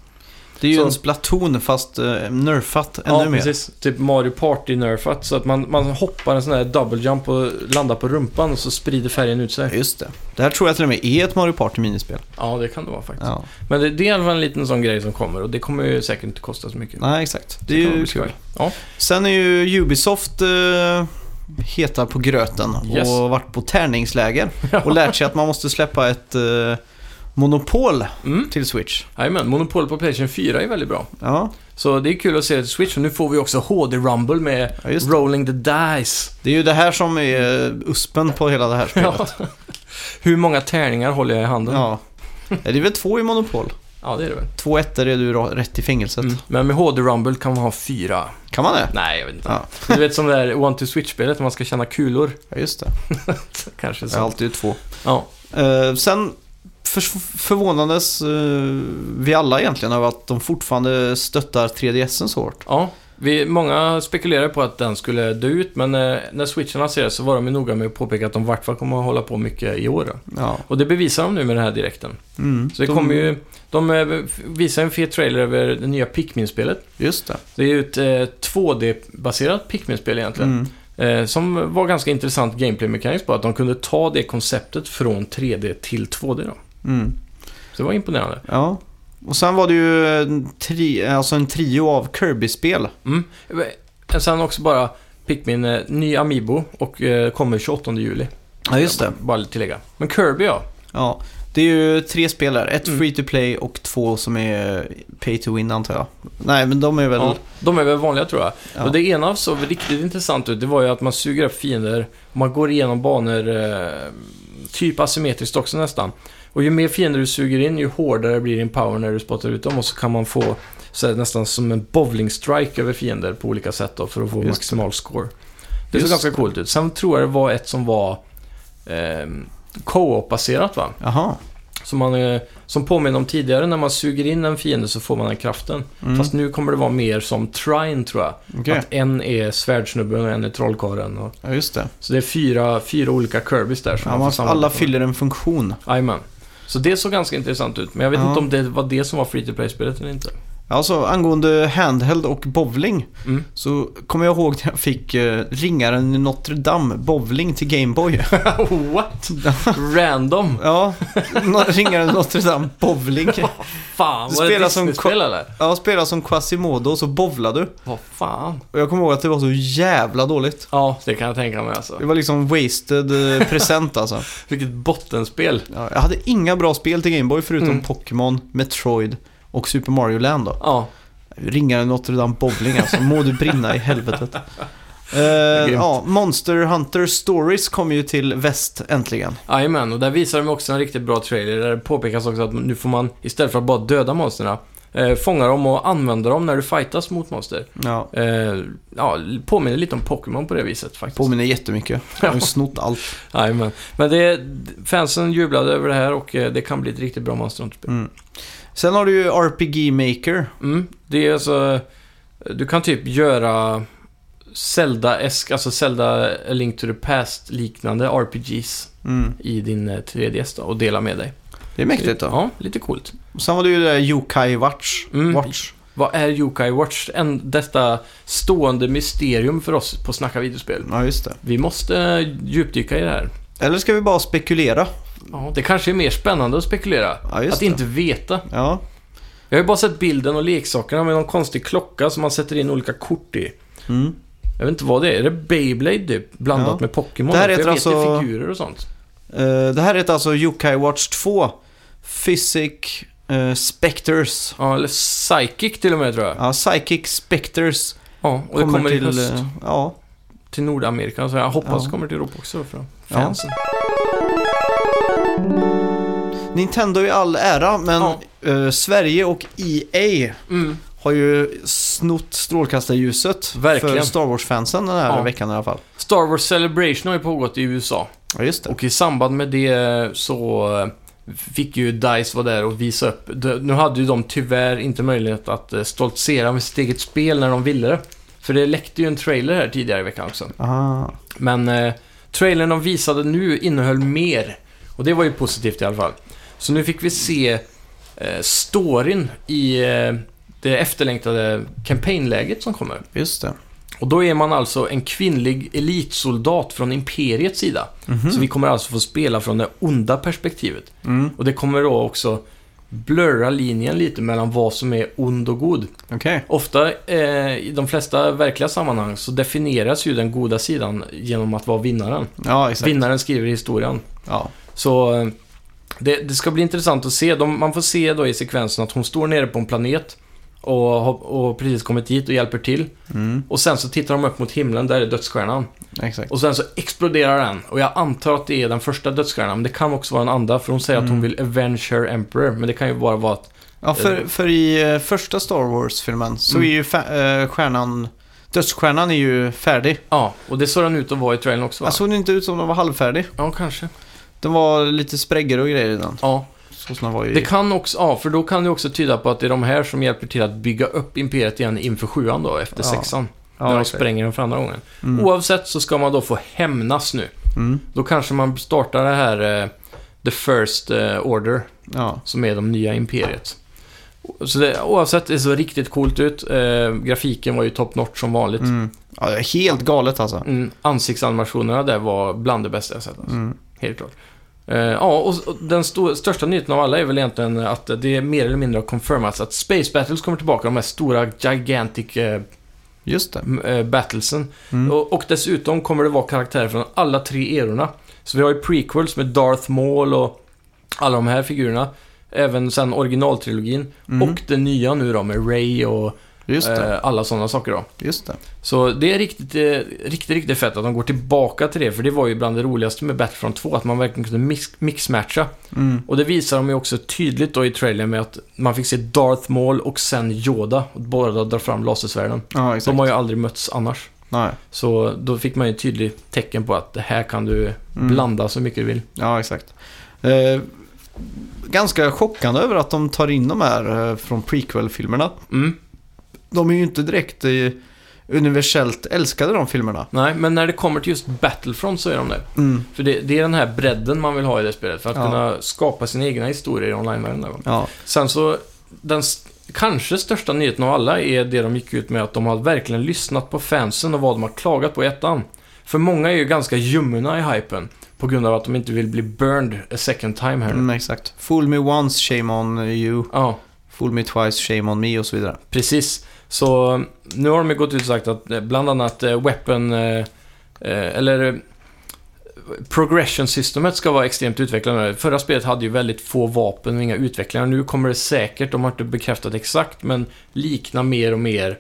Speaker 1: Det är ju
Speaker 2: Så-
Speaker 1: en Splatoon fast eh, nerfat ännu
Speaker 2: ja,
Speaker 1: mer.
Speaker 2: precis. Typ Mario Party-nerfat. Så att man, man hoppar en sån här double jump och landar på rumpan och så sprider färgen ut sig.
Speaker 1: Just det. Det här tror jag till och med är ett Mario Party minispel.
Speaker 2: Ja, det kan det vara faktiskt.
Speaker 1: Ja.
Speaker 2: Men det, det är i alla fall en liten sån grej som kommer. Och det kommer ju säkert inte kosta så mycket.
Speaker 1: Nej, exakt. Det
Speaker 2: Det
Speaker 1: är
Speaker 2: kan
Speaker 1: ju
Speaker 2: bli kul.
Speaker 1: kul.
Speaker 2: Ja.
Speaker 1: Sen är ju Ubisoft eh, heta på gröten
Speaker 2: Yes.
Speaker 1: och varit på tärningsläger och lärt sig att man måste släppa ett eh, monopol
Speaker 2: Mm.
Speaker 1: till Switch.
Speaker 2: Jajamän, Monopol på Playstation 4 är väldigt bra.
Speaker 1: Ja,
Speaker 2: Så det är kul att se det till Switch och nu får vi också HD Rumble med
Speaker 1: ja, just det.
Speaker 2: Rolling the Dice.
Speaker 1: Det är ju det här som är eh, uspen på hela det här spelet.
Speaker 2: Ja. Hur många tärningar håller jag i handen? Ja,
Speaker 1: Ja. Ja, Det är väl två i monopol.
Speaker 2: det är det väl.
Speaker 1: Två ettor är du ra- rätt i fängelset.
Speaker 2: Mm. Men med HD Rumble kan man ha fyra.
Speaker 1: Kan man det?
Speaker 2: Nej, jag vet inte.
Speaker 1: Ja.
Speaker 2: Du vet som det där One to Switch-spelet när man ska känna kulor.
Speaker 1: Ja, just det.
Speaker 2: Kanske
Speaker 1: Jag har
Speaker 2: så.
Speaker 1: alltid två.
Speaker 2: Ja.
Speaker 1: Eh, sen förs- förvånades eh, vi alla egentligen över att de fortfarande stöttar 3DSen så hårt.
Speaker 2: ja. Vi, många spekulerade på att den skulle dö ut, men eh, när Switchen lanserades så var de ju noga med att påpeka att de i vart fall kommer att hålla på mycket i år. Då.
Speaker 1: Ja.
Speaker 2: Och det bevisar de nu med den här direkten.
Speaker 1: Mm.
Speaker 2: Så det kommer ju... De eh, visar en fet trailer över det nya Pikmin-spelet.
Speaker 1: Just det.
Speaker 2: Det är ju ett eh, 2D-baserat Pikmin-spel egentligen.
Speaker 1: Mm.
Speaker 2: Eh, som var ganska intressant gameplay-mekaniskt på att de kunde ta det konceptet från 3D till 2D då.
Speaker 1: Mm.
Speaker 2: Så det var imponerande.
Speaker 1: Ja. Och sen var det ju en, tri- alltså en trio av Kirby-spel.
Speaker 2: Mm. Eh, Sen också bara Pikmin, eh, ny Amiibo och eh, kommer 28 juli.
Speaker 1: Ja,
Speaker 2: Bara lite tillägga. Men Kirby ja.
Speaker 1: Ja. Det är ju tre spel där. Ett
Speaker 2: Mm.
Speaker 1: free to play och två som är pay to win antar jag. Nej, men de är väl...
Speaker 2: ja. De är väl vanliga tror jag.
Speaker 1: Ja.
Speaker 2: Och det ena som såg riktigt intressant ut, det var ju att man suger upp fiender, man går igenom banor eh, typ asymmetriskt också nästan. Och ju mer fiender du suger in, ju hårdare blir din power när du spottar ut dem. Och så kan man få så här, nästan som en bowling-strike över fiender på olika sätt då, för att få
Speaker 1: Just det.
Speaker 2: maximal score. Det såg
Speaker 1: Just
Speaker 2: ganska coolt ut. Sen tror jag det var ett som var eh, co-op-baserat va?
Speaker 1: Jaha.
Speaker 2: Som, man, eh, som påminner om tidigare, när man suger in en fiende så får man den kraften.
Speaker 1: Mm.
Speaker 2: Fast nu kommer det vara mer som Trine tror jag.
Speaker 1: Okej.
Speaker 2: Att en är svärdsnubben och en är trollkarlen. Och,
Speaker 1: Ja, just det.
Speaker 2: så det är fyra, fyra olika Kirbys där. som
Speaker 1: Ja,
Speaker 2: man
Speaker 1: man,
Speaker 2: får samarbeta
Speaker 1: alla
Speaker 2: med.
Speaker 1: fyller en funktion.
Speaker 2: Jajamän. Så det såg ganska intressant ut, men jag vet
Speaker 1: Ja.
Speaker 2: inte om det var det som var free to play-spelet eller inte.
Speaker 1: Alltså angående handheld och bowling
Speaker 2: Mm.
Speaker 1: så kommer jag ihåg när jag fick eh, ringaren i Notre Dame bowling till Gameboy.
Speaker 2: What? Random?
Speaker 1: ja, no- ringaren i Notre Dame bowling.
Speaker 2: Fan,
Speaker 1: Du
Speaker 2: var det
Speaker 1: spelar
Speaker 2: ett
Speaker 1: som
Speaker 2: Disney-spel eller?
Speaker 1: Ja, spela som Quasimodo och så bowlade du.
Speaker 2: Vad fan?
Speaker 1: Och jag kommer ihåg att det var så jävla dåligt.
Speaker 2: Ja, det kan jag tänka mig
Speaker 1: Det
Speaker 2: alltså.
Speaker 1: var liksom wasted eh, present alltså.
Speaker 2: Vilket bottenspel.
Speaker 1: Ja, jag hade inga bra spel till Gameboy förutom
Speaker 2: Mm.
Speaker 1: Pokémon, Metroid och Super Mario Land då.
Speaker 2: Ja,
Speaker 1: Ringaren i Notre Dame Bowling alltså, må du brinna i helvetet. Eh,
Speaker 2: grymt.
Speaker 1: ja, Monster Hunter Stories kom ju till väst äntligen.
Speaker 2: jajamän. Och där visar de också en riktigt bra trailer där det påpekas också att nu får man istället för att bara döda monstren eh, fånga dem och använda dem när du fightas mot monster.
Speaker 1: Ja,
Speaker 2: Eh, ja, påminner lite om Pokémon på det viset faktiskt.
Speaker 1: påminner jättemycket. Jag har ju snott allt.
Speaker 2: Jajamän. Men det, fansen jublade över det här och eh, det kan bli ett riktigt bra Monster Hunter-spel.
Speaker 1: Mm. Sen har du ju RPG Maker.
Speaker 2: Mm. Det är alltså... Du kan typ göra Zelda-esk, alltså Zelda A Link to the Past-liknande RPGs
Speaker 1: Mm.
Speaker 2: i din eh, 3DS då och dela med dig.
Speaker 1: Det är mäktigt då.
Speaker 2: Ja, lite coolt.
Speaker 1: Sen var det ju det där Yokai Watch.
Speaker 2: Mm.
Speaker 1: Watch.
Speaker 2: Vad är Yokai Watch? En, detta stående mysterium för oss på Snacka videospel.
Speaker 1: Ja, just det.
Speaker 2: Vi måste eh, djupdyka i det här.
Speaker 1: Eller ska vi bara spekulera?
Speaker 2: Ja, det kanske är mer spännande att spekulera.
Speaker 1: Ja, just
Speaker 2: att
Speaker 1: det.
Speaker 2: inte veta.
Speaker 1: Ja,
Speaker 2: Jag har ju bara sett bilden och leksakerna med någon konstig klocka som man sätter in olika kort i.
Speaker 1: mm.
Speaker 2: Jag vet inte vad det är. Är det Beyblade typ? Blandat
Speaker 1: Ja.
Speaker 2: med Pokémon?
Speaker 1: Det här
Speaker 2: För jag
Speaker 1: heter
Speaker 2: vet
Speaker 1: alltså-
Speaker 2: ju figurer och sånt.
Speaker 1: Eh, det här heter alltså Yokai Watch 2. Physic eh, Specters.
Speaker 2: Ja, eller Psychic till och med tror jag.
Speaker 1: Ja, Psychic Specters.
Speaker 2: Ja, och det kommer, till, till, höst,
Speaker 1: eh, Ja,
Speaker 2: till Nordamerika. Så jag hoppas
Speaker 1: Ja.
Speaker 2: det kommer till Europa också för
Speaker 1: Ja.
Speaker 2: fansen.
Speaker 1: Nintendo i all ära, men
Speaker 2: Ja.
Speaker 1: eh, Sverige och EA
Speaker 2: Mm.
Speaker 1: har ju snott strålkastarljuset för
Speaker 2: Verkligen.
Speaker 1: Star Wars-fansen den här
Speaker 2: Ja.
Speaker 1: veckan i alla fall.
Speaker 2: Star Wars Celebration har ju pågått i USA.
Speaker 1: Ja, just det.
Speaker 2: Och i samband med det så eh, fick ju DICE vara där och visa upp. De- Nu hade ju de tyvärr inte möjlighet att eh, stoltsera med sitt eget spel när de ville det. För det läckte ju en trailer här tidigare i veckan också.
Speaker 1: Aha.
Speaker 2: Men eh, trailern de visade nu innehöll mer. Och det var ju positivt i alla fall. Så nu fick vi se eh, storyn i eh, det efterlängtade kampanjläget som kommer.
Speaker 1: Just det.
Speaker 2: Och då är man alltså en kvinnlig elitsoldat från Imperiets sida.
Speaker 1: Mhm.
Speaker 2: Så vi kommer alltså få spela från det onda perspektivet.
Speaker 1: Mm.
Speaker 2: Och det kommer då också blurra linjen lite mellan vad som är ond och god.
Speaker 1: Okej.
Speaker 2: Ofta eh, i de flesta verkliga sammanhang så definieras ju den goda sidan genom att vara vinnaren.
Speaker 1: Ja, exakt.
Speaker 2: Vinnaren skriver historien.
Speaker 1: Ja.
Speaker 2: Så eh, det, det ska bli intressant att se. De, man får se då i sekvensen att hon står nere på en planet och har och precis kommit dit och hjälper till.
Speaker 1: Mm.
Speaker 2: Och sen så tittar de upp mot himlen, där är dödsstjärnan.
Speaker 1: Exakt.
Speaker 2: Och sen så exploderar den. Och jag antar att det är den första dödsstjärnan, men det kan också vara en andra. För hon säger
Speaker 1: Mm.
Speaker 2: att hon vill avenge her emperor, men det kan ju bara vara att...
Speaker 1: Ja, för, för i eh, första Star Wars-filmen så
Speaker 2: Mm.
Speaker 1: är ju fa- eh, stjärnan, dödsstjärnan är ju färdig.
Speaker 2: Ja, och det såg den ut att vara i trailern också va?
Speaker 1: Jag såg den inte ut som den var halvfärdig.
Speaker 2: ja, kanske.
Speaker 1: Den var lite spräggor och grejer i den.
Speaker 2: Ja,
Speaker 1: Så som den var i...
Speaker 2: det kan också... Ja, för då kan det också tyda på att det är de här som hjälper till att bygga upp imperiet igen inför sjuan då, efter
Speaker 1: Ja.
Speaker 2: sexan.
Speaker 1: ja,
Speaker 2: när de
Speaker 1: exakt.
Speaker 2: spränger den för andra gången.
Speaker 1: Mm.
Speaker 2: Oavsett så ska man då få hämnas nu.
Speaker 1: Mm.
Speaker 2: Då kanske man startar det här eh, The First eh, Order,
Speaker 1: Ja.
Speaker 2: som är de nya imperiet. Så det, oavsett, det såg riktigt coolt ut. Eh, grafiken var ju top notch som vanligt. Mm.
Speaker 1: Mm. ja, det är helt galet alltså.
Speaker 2: ansiktsanimationerna där var bland det bästa jag sett. Alltså.
Speaker 1: Mm.
Speaker 2: Helt klart. Eh, ja, och och den sto- största nyheten av alla är väl egentligen att det är mer eller mindre har confirmats att Space Battles kommer tillbaka, de här stora gigantic eh,
Speaker 1: Just det.
Speaker 2: m- eh, battlesen.
Speaker 1: Mm.
Speaker 2: Och, och dessutom kommer det vara karaktärer från alla tre erorna. Så vi har ju prequels med Darth Maul och alla de här figurerna. Även sen originaltrilogin.
Speaker 1: Mm.
Speaker 2: Och det nya nu då med Ray och
Speaker 1: Just det,
Speaker 2: Eh, alla sådana saker då.
Speaker 1: just det.
Speaker 2: Så det är riktigt, eh, riktigt, riktigt fett att de går tillbaka till det, för det var ju bland det roligaste med Battlefront 2, att man verkligen kunde mix, mixmatcha.
Speaker 1: Mm.
Speaker 2: Och det visar de ju också tydligt då i trailern med att man fick se Darth Maul och sen Yoda, och båda drar fram lasersvärden.
Speaker 1: Ja, exakt.
Speaker 2: De har ju aldrig mötts annars.
Speaker 1: Nej.
Speaker 2: Så då fick man ju tydligt tecken på att det här kan du
Speaker 1: Mm.
Speaker 2: blanda så mycket du vill.
Speaker 1: Ja, exakt. Eh, ganska chockande över att de tar in de här eh, från prequel-filmerna.
Speaker 2: Mm.
Speaker 1: De är ju inte direkt eh, universellt älskade de filmerna.
Speaker 2: Nej, men när det kommer till just Battlefront så är de det.
Speaker 1: Mm.
Speaker 2: För det, det är den här bredden man vill ha i det spelet, för att
Speaker 1: Ja.
Speaker 2: kunna skapa sina egna historier i online-världen. där, va?
Speaker 1: Ja,
Speaker 2: Sen så, den s- kanske största nyheten av alla är det de gick ut med att de har verkligen lyssnat på fansen och vad de har klagat på i ettan. För många är ju ganska ljumna i hypen på grund av att de inte vill bli burned a second time här nu.
Speaker 1: mm, exakt. Fool me once, shame on you.
Speaker 2: Ja,
Speaker 1: Fool me twice, shame on me och så vidare.
Speaker 2: precis. Så nu har de ju gått ut och sagt att eh, bland annat eh, Weapon, eh, eh, eller eh, Progression-systemet ska vara extremt utvecklat nu. Förra spelet hade ju väldigt få vapen och inga utvecklare. Nu kommer det säkert, de har inte bekräftat exakt, men likna mer och mer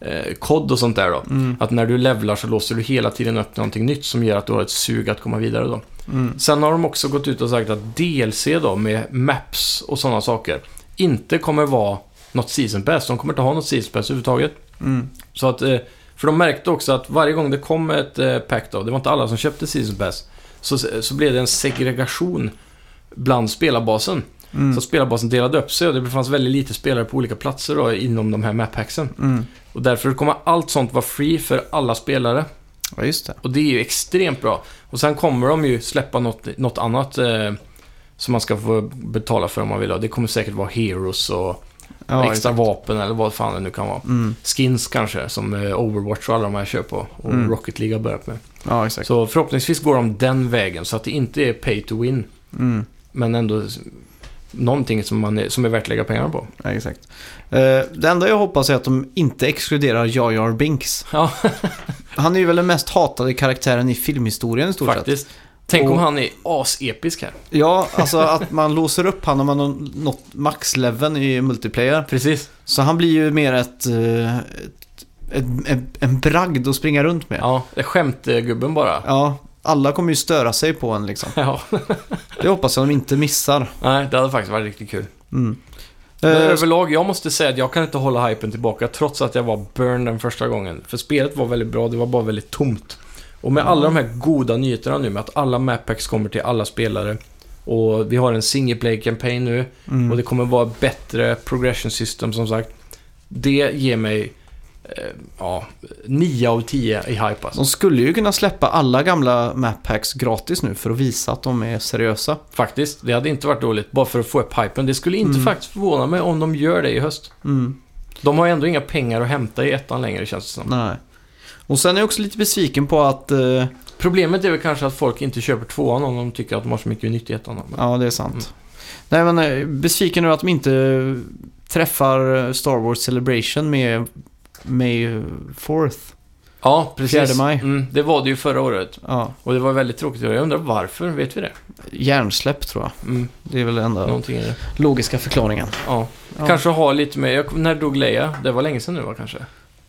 Speaker 2: eh, kod och sånt där då.
Speaker 1: Mm.
Speaker 2: Att när du levlar så låser du hela tiden upp någonting nytt som gör att du har ett sug att komma vidare då.
Speaker 1: Mm.
Speaker 2: Sen har de också gått ut och sagt att DLC då med maps och sådana saker inte kommer vara något season pass. De kommer inte ha något season pass överhuvudtaget.
Speaker 1: Mm.
Speaker 2: Så att, eh, för de märkte också att varje gång det kom ett eh, pack då, det var inte alla som köpte season pass, så, så blev det en segregation bland spelarbasen.
Speaker 1: Mm.
Speaker 2: Så att spelarbasen delade upp sig och det fanns väldigt lite spelare på olika platser då inom de här map-packsen.
Speaker 1: Mm.
Speaker 2: Och därför kommer allt sånt vara free för alla spelare.
Speaker 1: Ja, just det.
Speaker 2: Och det är ju extremt bra. Och sen kommer de ju släppa något, något annat eh, som man ska få betala för om man vill ha. Det kommer säkert vara Heroes och
Speaker 1: Ja,
Speaker 2: extra
Speaker 1: exakt.
Speaker 2: vapen eller vad fan det nu kan vara.
Speaker 1: Mm.
Speaker 2: Skins kanske, som eh, Overwatch och alla de här kör på. Och
Speaker 1: Mm.
Speaker 2: Rocket League har börjat med.
Speaker 1: Ja, exakt.
Speaker 2: Så förhoppningsvis går de den vägen, så att det inte är pay to win.
Speaker 1: Mm.
Speaker 2: Men ändå s- någonting som, man är, som är värt att lägga pengar på.
Speaker 1: Ja, exakt. Eh, det enda jag hoppas är att de inte exkluderar Jar Jar Binks.
Speaker 2: Ja,
Speaker 1: Han är ju väl den mest hatade karaktären i filmhistorien i stort sett.
Speaker 2: faktiskt. Tänk om
Speaker 1: Och-
Speaker 2: han är asepisk här.
Speaker 1: Ja, alltså att man låser upp han om man har nått maxleveln i multiplayer.
Speaker 2: Precis.
Speaker 1: Så han blir ju mer ett, eh, ett, ett, ett en bragd att springa runt med.
Speaker 2: Ja, det är skämtgubben bara.
Speaker 1: Ja, alla kommer ju störa sig på en liksom.
Speaker 2: Ja.
Speaker 1: Det hoppas jag de inte missar.
Speaker 2: Nej, det hade faktiskt varit riktigt kul.
Speaker 1: Mm.
Speaker 2: Men
Speaker 1: Eh,
Speaker 2: överlag, jag måste säga att jag kan inte hålla hypen tillbaka trots att jag var burned den första gången. För spelet var väldigt bra, det var bara väldigt tomt. Och med alla de här goda nyheterna nu med att alla mappacks kommer till alla spelare och vi har en single play campaign nu
Speaker 1: mm.
Speaker 2: och det kommer vara bättre progression system som sagt. Det ger mig eh, ja, 9 av 10 i hype alltså.
Speaker 1: De skulle ju kunna släppa alla gamla map packs gratis nu för att visa att de är seriösa.
Speaker 2: Faktiskt, det hade inte varit dåligt bara för att få upp hypen. Det skulle inte
Speaker 1: Mm.
Speaker 2: faktiskt förvåna mig om de gör det i höst.
Speaker 1: Mm.
Speaker 2: De har ju ändå inga pengar att hämta i ettan längre känns det som.
Speaker 1: Nej. Och sen är jag också lite besviken på att... eh,
Speaker 2: Problemet är väl kanske att folk inte köper tvåan om de tycker att de har så mycket nytt i ettan. då. Men,
Speaker 1: Ja, det är sant. Nej, men eh, besviken över att de inte träffar eh, Star Wars Celebration med May 4th.
Speaker 2: ja, precis.
Speaker 1: Fjärde maj.
Speaker 2: Mm, det var det ju förra året.
Speaker 1: Ja,
Speaker 2: Och det var väldigt tråkigt. Jag undrar varför, vet vi det?
Speaker 1: hjärnsläpp tror jag.
Speaker 2: Mm,
Speaker 1: Det är väl den enda
Speaker 2: Någonting är det.
Speaker 1: logiska förklaringen.
Speaker 2: Ja.
Speaker 1: Ja.
Speaker 2: Kanske ha lite mer, jag, när dog Leia? Det var länge sedan nu va kanske?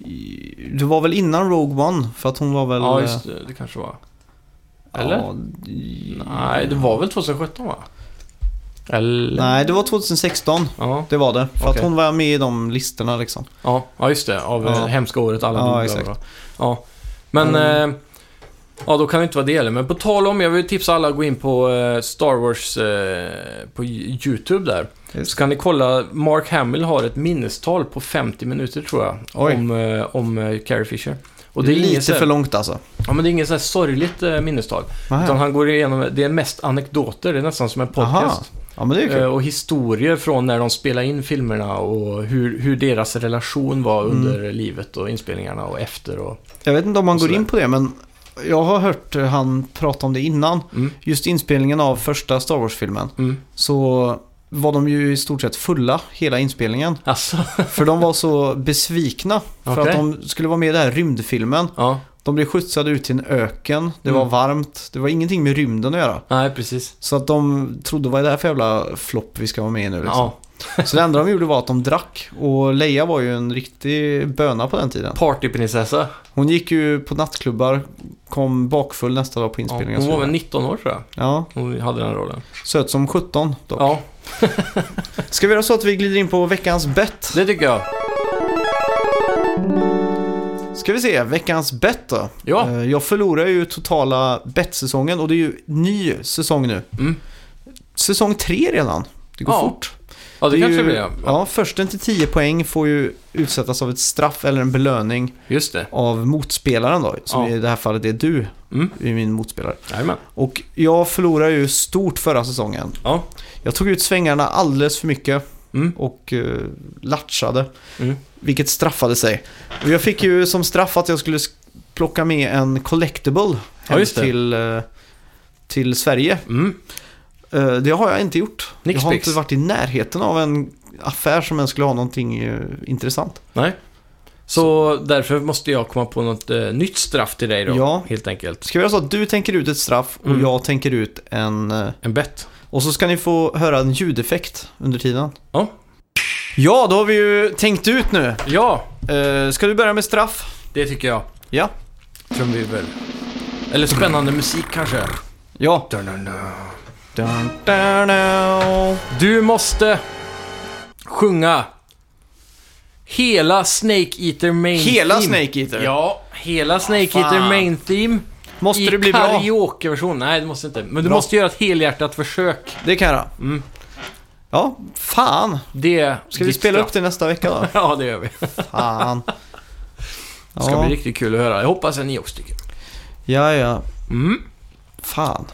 Speaker 1: I- Det var väl innan Rogue One? För att hon var väl...
Speaker 2: ja, just det. Det kanske var.
Speaker 1: eh,
Speaker 2: eller?
Speaker 1: ja, i-
Speaker 2: Nej, det var väl 2017 va? Eller?
Speaker 1: Nej, det var 2016.
Speaker 2: Ja,
Speaker 1: Det var det. För att
Speaker 2: Okej.
Speaker 1: hon var med i de listorna liksom.
Speaker 2: ja, ja just det. Av
Speaker 1: Ja.
Speaker 2: ja. hemska året alla
Speaker 1: Ja,
Speaker 2: dog. bla,
Speaker 1: exakt. Mm.
Speaker 2: bla, bla. Ja, men... Eh, ja, då kan det inte vara det heller. Men på tal om, jag vill tipsa alla att gå in på eh, Star Wars eh, på YouTube där. Så kan ni kolla, Mark Hamill har ett minnestal på 50 minuter tror jag.
Speaker 1: Oj.
Speaker 2: Om, eh, om eh, Carrie Fisher.
Speaker 1: Och det är
Speaker 2: ingen
Speaker 1: lite
Speaker 2: så här-
Speaker 1: för Ah, långt alltså.
Speaker 2: Ja, men det är inget så här sorgligt eh, minnestal.
Speaker 1: Nej.
Speaker 2: Utan han går igenom, det är mest anekdoter, det är nästan som en podcast.
Speaker 1: Ja, men det är ju
Speaker 2: Eh,
Speaker 1: kul.
Speaker 2: Och historier från när de spelade in filmerna och hur, hur deras relation var
Speaker 1: Mm.
Speaker 2: under livet och inspelningarna och efter och...
Speaker 1: Jag vet inte om man
Speaker 2: och
Speaker 1: går
Speaker 2: sådär.
Speaker 1: in på det, men jag har hört eh, han prata om det innan.
Speaker 2: Mm.
Speaker 1: Just inspelningen av första Star Wars-filmen
Speaker 2: Mm.
Speaker 1: så var de ju i stort sett fulla hela inspelningen.
Speaker 2: Alltså,
Speaker 1: För de var så besvikna för
Speaker 2: Okej.
Speaker 1: att de skulle vara med i den här rymdfilmen.
Speaker 2: ja.
Speaker 1: De blev skjutsade ut till en öken, det var
Speaker 2: Mm.
Speaker 1: varmt, det var ingenting med rymden att göra.
Speaker 2: Nej, precis.
Speaker 1: Så att de trodde, vad är det här för jävla flopp vi ska vara med i nu liksom?
Speaker 2: Ja.
Speaker 1: Så det enda de gjorde var att de drack. Och Leia var ju en riktig böna på den tiden.
Speaker 2: Partyprinsessa.
Speaker 1: Hon gick ju på nattklubbar, kom bakfull nästa dag på
Speaker 2: Ja,
Speaker 1: inspelningen. och
Speaker 2: hon
Speaker 1: så
Speaker 2: var väl
Speaker 1: vidare.
Speaker 2: 19 år tror jag.
Speaker 1: Ja,
Speaker 2: Hon hade den rollen.
Speaker 1: söt som 17 dock.
Speaker 2: Ja,
Speaker 1: Ska vi göra så att vi glider in på veckans bett?
Speaker 2: det tycker jag.
Speaker 1: Ska vi se, veckans bett då.
Speaker 2: Ja.
Speaker 1: Eh, Jag förlorar ju totala bettsäsongen och det är ju ny säsong nu.
Speaker 2: Mm.
Speaker 1: Säsong tre redan. Det går
Speaker 2: Ja,
Speaker 1: fort.
Speaker 2: Ja, det,
Speaker 1: är
Speaker 2: kanske
Speaker 1: ju,
Speaker 2: blir det. Ja.
Speaker 1: Ja, försten till 10 poäng får ju utsättas av ett straff eller en belöning
Speaker 2: Just det.
Speaker 1: av motspelaren då. Som
Speaker 2: Ja.
Speaker 1: i det här fallet är du,
Speaker 2: Mm.
Speaker 1: är min motspelare.
Speaker 2: Jajamän.
Speaker 1: Och jag förlorade ju stort förra säsongen.
Speaker 2: Ja.
Speaker 1: Jag tog ut svängarna alldeles för mycket
Speaker 2: Mm.
Speaker 1: och uh, latchade.
Speaker 2: Mm.
Speaker 1: Vilket straffade sig. Och jag fick ju som straff att jag skulle sk- plocka med en collectible hem
Speaker 2: just det.
Speaker 1: till, eh, till Sverige.
Speaker 2: Mm.
Speaker 1: Eh, det har jag inte gjort.
Speaker 2: Nix
Speaker 1: jag har
Speaker 2: pix.
Speaker 1: inte varit i närheten av en affär som ens skulle ha någonting eh, intressant.
Speaker 2: Nej. Så, därför måste jag komma på något eh, nytt straff till dig då.
Speaker 1: Ja.
Speaker 2: Helt enkelt.
Speaker 1: Ska vi göra så att du tänker ut ett straff och
Speaker 2: Mm.
Speaker 1: jag tänker ut en... eh,
Speaker 2: En bett.
Speaker 1: Och så ska ni få höra en ljudeffekt under tiden.
Speaker 2: Ja.
Speaker 1: Ja, då har vi ju tänkt ut nu.
Speaker 2: Ja,
Speaker 1: Eh, ska du börja med straff?
Speaker 2: det tycker jag.
Speaker 1: Ja.
Speaker 2: Trumvirvel. Eller spännande musik kanske.
Speaker 1: Ja. Dun, dun, dun.
Speaker 2: Du måste sjunga hela Snake Eater Main
Speaker 1: Hela
Speaker 2: Theme.
Speaker 1: Snake Eater?
Speaker 2: Ja, hela Snake
Speaker 1: Fan.
Speaker 2: Eater Main Theme.
Speaker 1: Måste
Speaker 2: I
Speaker 1: det bli bra?
Speaker 2: karaokeversion. Nej, det måste inte. Men du
Speaker 1: Bra.
Speaker 2: måste göra ett helhjärtat försök.
Speaker 1: Det kan jag göra.
Speaker 2: Mm.
Speaker 1: Ja, fan.
Speaker 2: Det är
Speaker 1: Ska vi
Speaker 2: ditt
Speaker 1: spela
Speaker 2: straff.
Speaker 1: upp det nästa vecka då?
Speaker 2: Ja, det gör vi.
Speaker 1: Fan.
Speaker 2: Det ska
Speaker 1: Ja.
Speaker 2: bli riktigt kul att höra. Jag hoppas att ni också tycker.
Speaker 1: Ja, ja.
Speaker 2: Mm.
Speaker 1: Fan.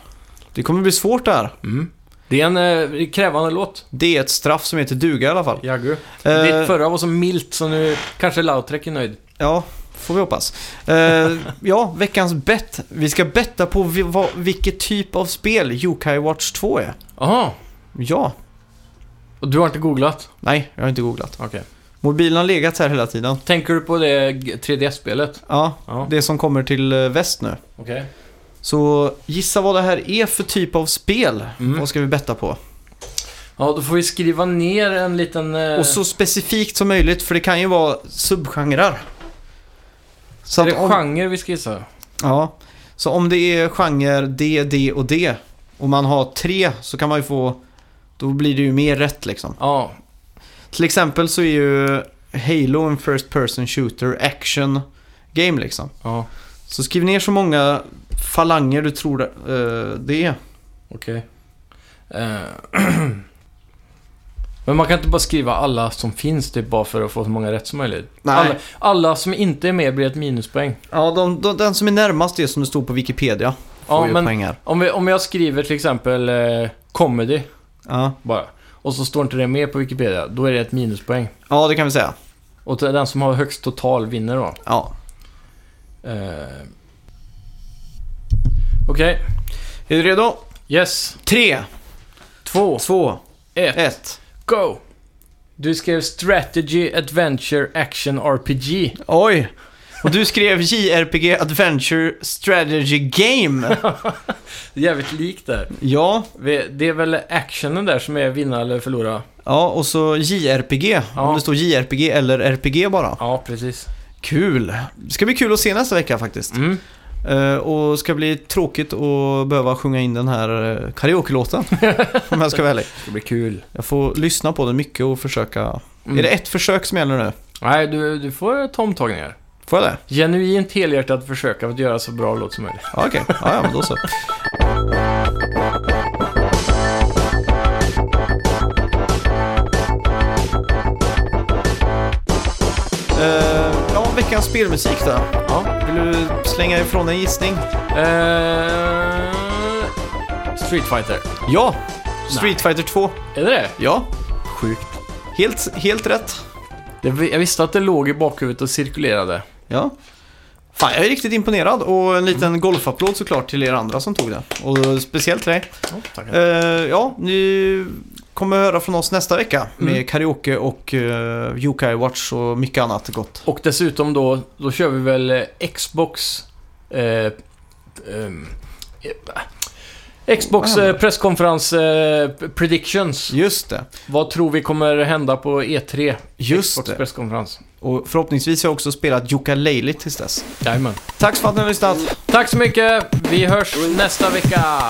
Speaker 1: Det kommer bli svårt det här.
Speaker 2: Mm. Det är en eh, krävande låt.
Speaker 1: Det är ett straff som heter duga i alla fall.
Speaker 2: Jaggu.
Speaker 1: Eh,
Speaker 2: Ditt förra var så milt så nu kanske Lautrec är nöjd.
Speaker 1: Ja, får vi hoppas. Eh, ja, veckans bett. Vi ska betta på vi, vad, vilket typ av spel Yokai Watch 2 är.
Speaker 2: Jaha,
Speaker 1: Ja.
Speaker 2: och du har inte googlat?
Speaker 1: Nej, jag har inte googlat.
Speaker 2: Okej.
Speaker 1: Mobilen har legat här hela tiden.
Speaker 2: Tänker du på det 3DS-spelet?
Speaker 1: Ja,
Speaker 2: Ja.
Speaker 1: det som kommer till eh, väst nu.
Speaker 2: Okej.
Speaker 1: Så gissa vad det här är för typ av spel.
Speaker 2: Mm.
Speaker 1: Vad ska vi betta på?
Speaker 2: Ja, då får vi skriva ner en liten... eh,
Speaker 1: Och så specifikt som möjligt, för det kan ju vara subgenrer. Så,
Speaker 2: är det
Speaker 1: att om,
Speaker 2: genre vi ska gissa?
Speaker 1: ja, så om det är genre D, D och D och man har tre så kan man ju få... Då blir det ju mer rätt liksom.
Speaker 2: Ja.
Speaker 1: Till exempel så är ju Halo en First Person Shooter Action Game liksom.
Speaker 2: Ja,
Speaker 1: Så skriv ner så många falanger du tror eh, det är.
Speaker 2: okej. Eh, Men man kan inte bara skriva alla som finns typ bara för att få så många rätt som möjligt.
Speaker 1: Nej.
Speaker 2: Alla, alla som inte är med blir ett minuspoäng.
Speaker 1: Ja, de, de, den som är närmast det som det står på Wikipedia får
Speaker 2: Ja,
Speaker 1: ju
Speaker 2: men
Speaker 1: poäng här.
Speaker 2: om, vi, om jag skriver till exempel eh, comedy
Speaker 1: Ja.
Speaker 2: bara och så står inte det med på Wikipedia, då är det ett minuspoäng.
Speaker 1: ja, det kan vi säga.
Speaker 2: Och den som har högst total vinner då.
Speaker 1: Ja.
Speaker 2: Eh, Okej,
Speaker 1: Är du redo?
Speaker 2: yes.
Speaker 1: Tre,
Speaker 2: Två,
Speaker 1: två,
Speaker 2: ett,
Speaker 1: ett.
Speaker 2: go! Du skrev Strategy Adventure Action RPG.
Speaker 1: Oj! Och du skrev JRPG Adventure Strategy Game.
Speaker 2: Jävligt likt där.
Speaker 1: Ja,
Speaker 2: Vi- Det är väl actionen där som är vinna eller förlora?
Speaker 1: ja och så JRPG.
Speaker 2: Ja.
Speaker 1: Om det står JRPG eller RPG bara.
Speaker 2: Ja, precis.
Speaker 1: Kul! Det ska bli kul att se nästa vecka faktiskt.
Speaker 2: Mm.
Speaker 1: Eh, och ska bli tråkigt att behöva sjunga in den här eh, karaoke-låten. om jag ska vara ärlig.
Speaker 2: Det blir kul.
Speaker 1: Jag får lyssna på den mycket och försöka... Är det ett försök som gäller nu?
Speaker 2: Nej, du, du får ta omtagningar.
Speaker 1: Får jag det?
Speaker 2: Genuint helhjärtat försök att göra så bra låt som möjligt.
Speaker 1: Ja, okej. Ja, ja, men då så. Eh, ja, veckans spelmusik då.
Speaker 2: Ja.
Speaker 1: Vill du slänga ifrån en gissning?
Speaker 2: Eh, Street Fighter.
Speaker 1: Ja! Street Fighter 2.
Speaker 2: Är det det?
Speaker 1: Ja,
Speaker 2: Sjukt.
Speaker 1: helt, helt rätt.
Speaker 2: Det, jag visste att det låg i bakhuvudet och cirkulerade.
Speaker 1: Ja. Fan, jag är riktigt imponerad och en liten golfapplåd såklart till er andra som tog det. Och speciellt till dig. Eh, ja, ni kommer höra från oss nästa vecka med karaoke och uh, Yokai Watch och mycket annat gott.
Speaker 2: Och dessutom då, då kör vi väl eh, Xbox... Eh, ehm, eh,
Speaker 1: Ah.
Speaker 2: Xbox eh, presskonferens eh, p- predictions.
Speaker 1: Just det.
Speaker 2: Vad tror vi kommer hända på E3?
Speaker 1: Just
Speaker 2: Xbox
Speaker 1: det.
Speaker 2: presskonferens.
Speaker 1: Och förhoppningsvis har jag också spelat Jukka Leili tills dess.
Speaker 2: Jajamän.
Speaker 1: Tack för att ni har lyssnat.
Speaker 2: Tack så mycket. Vi hörs nästa vecka.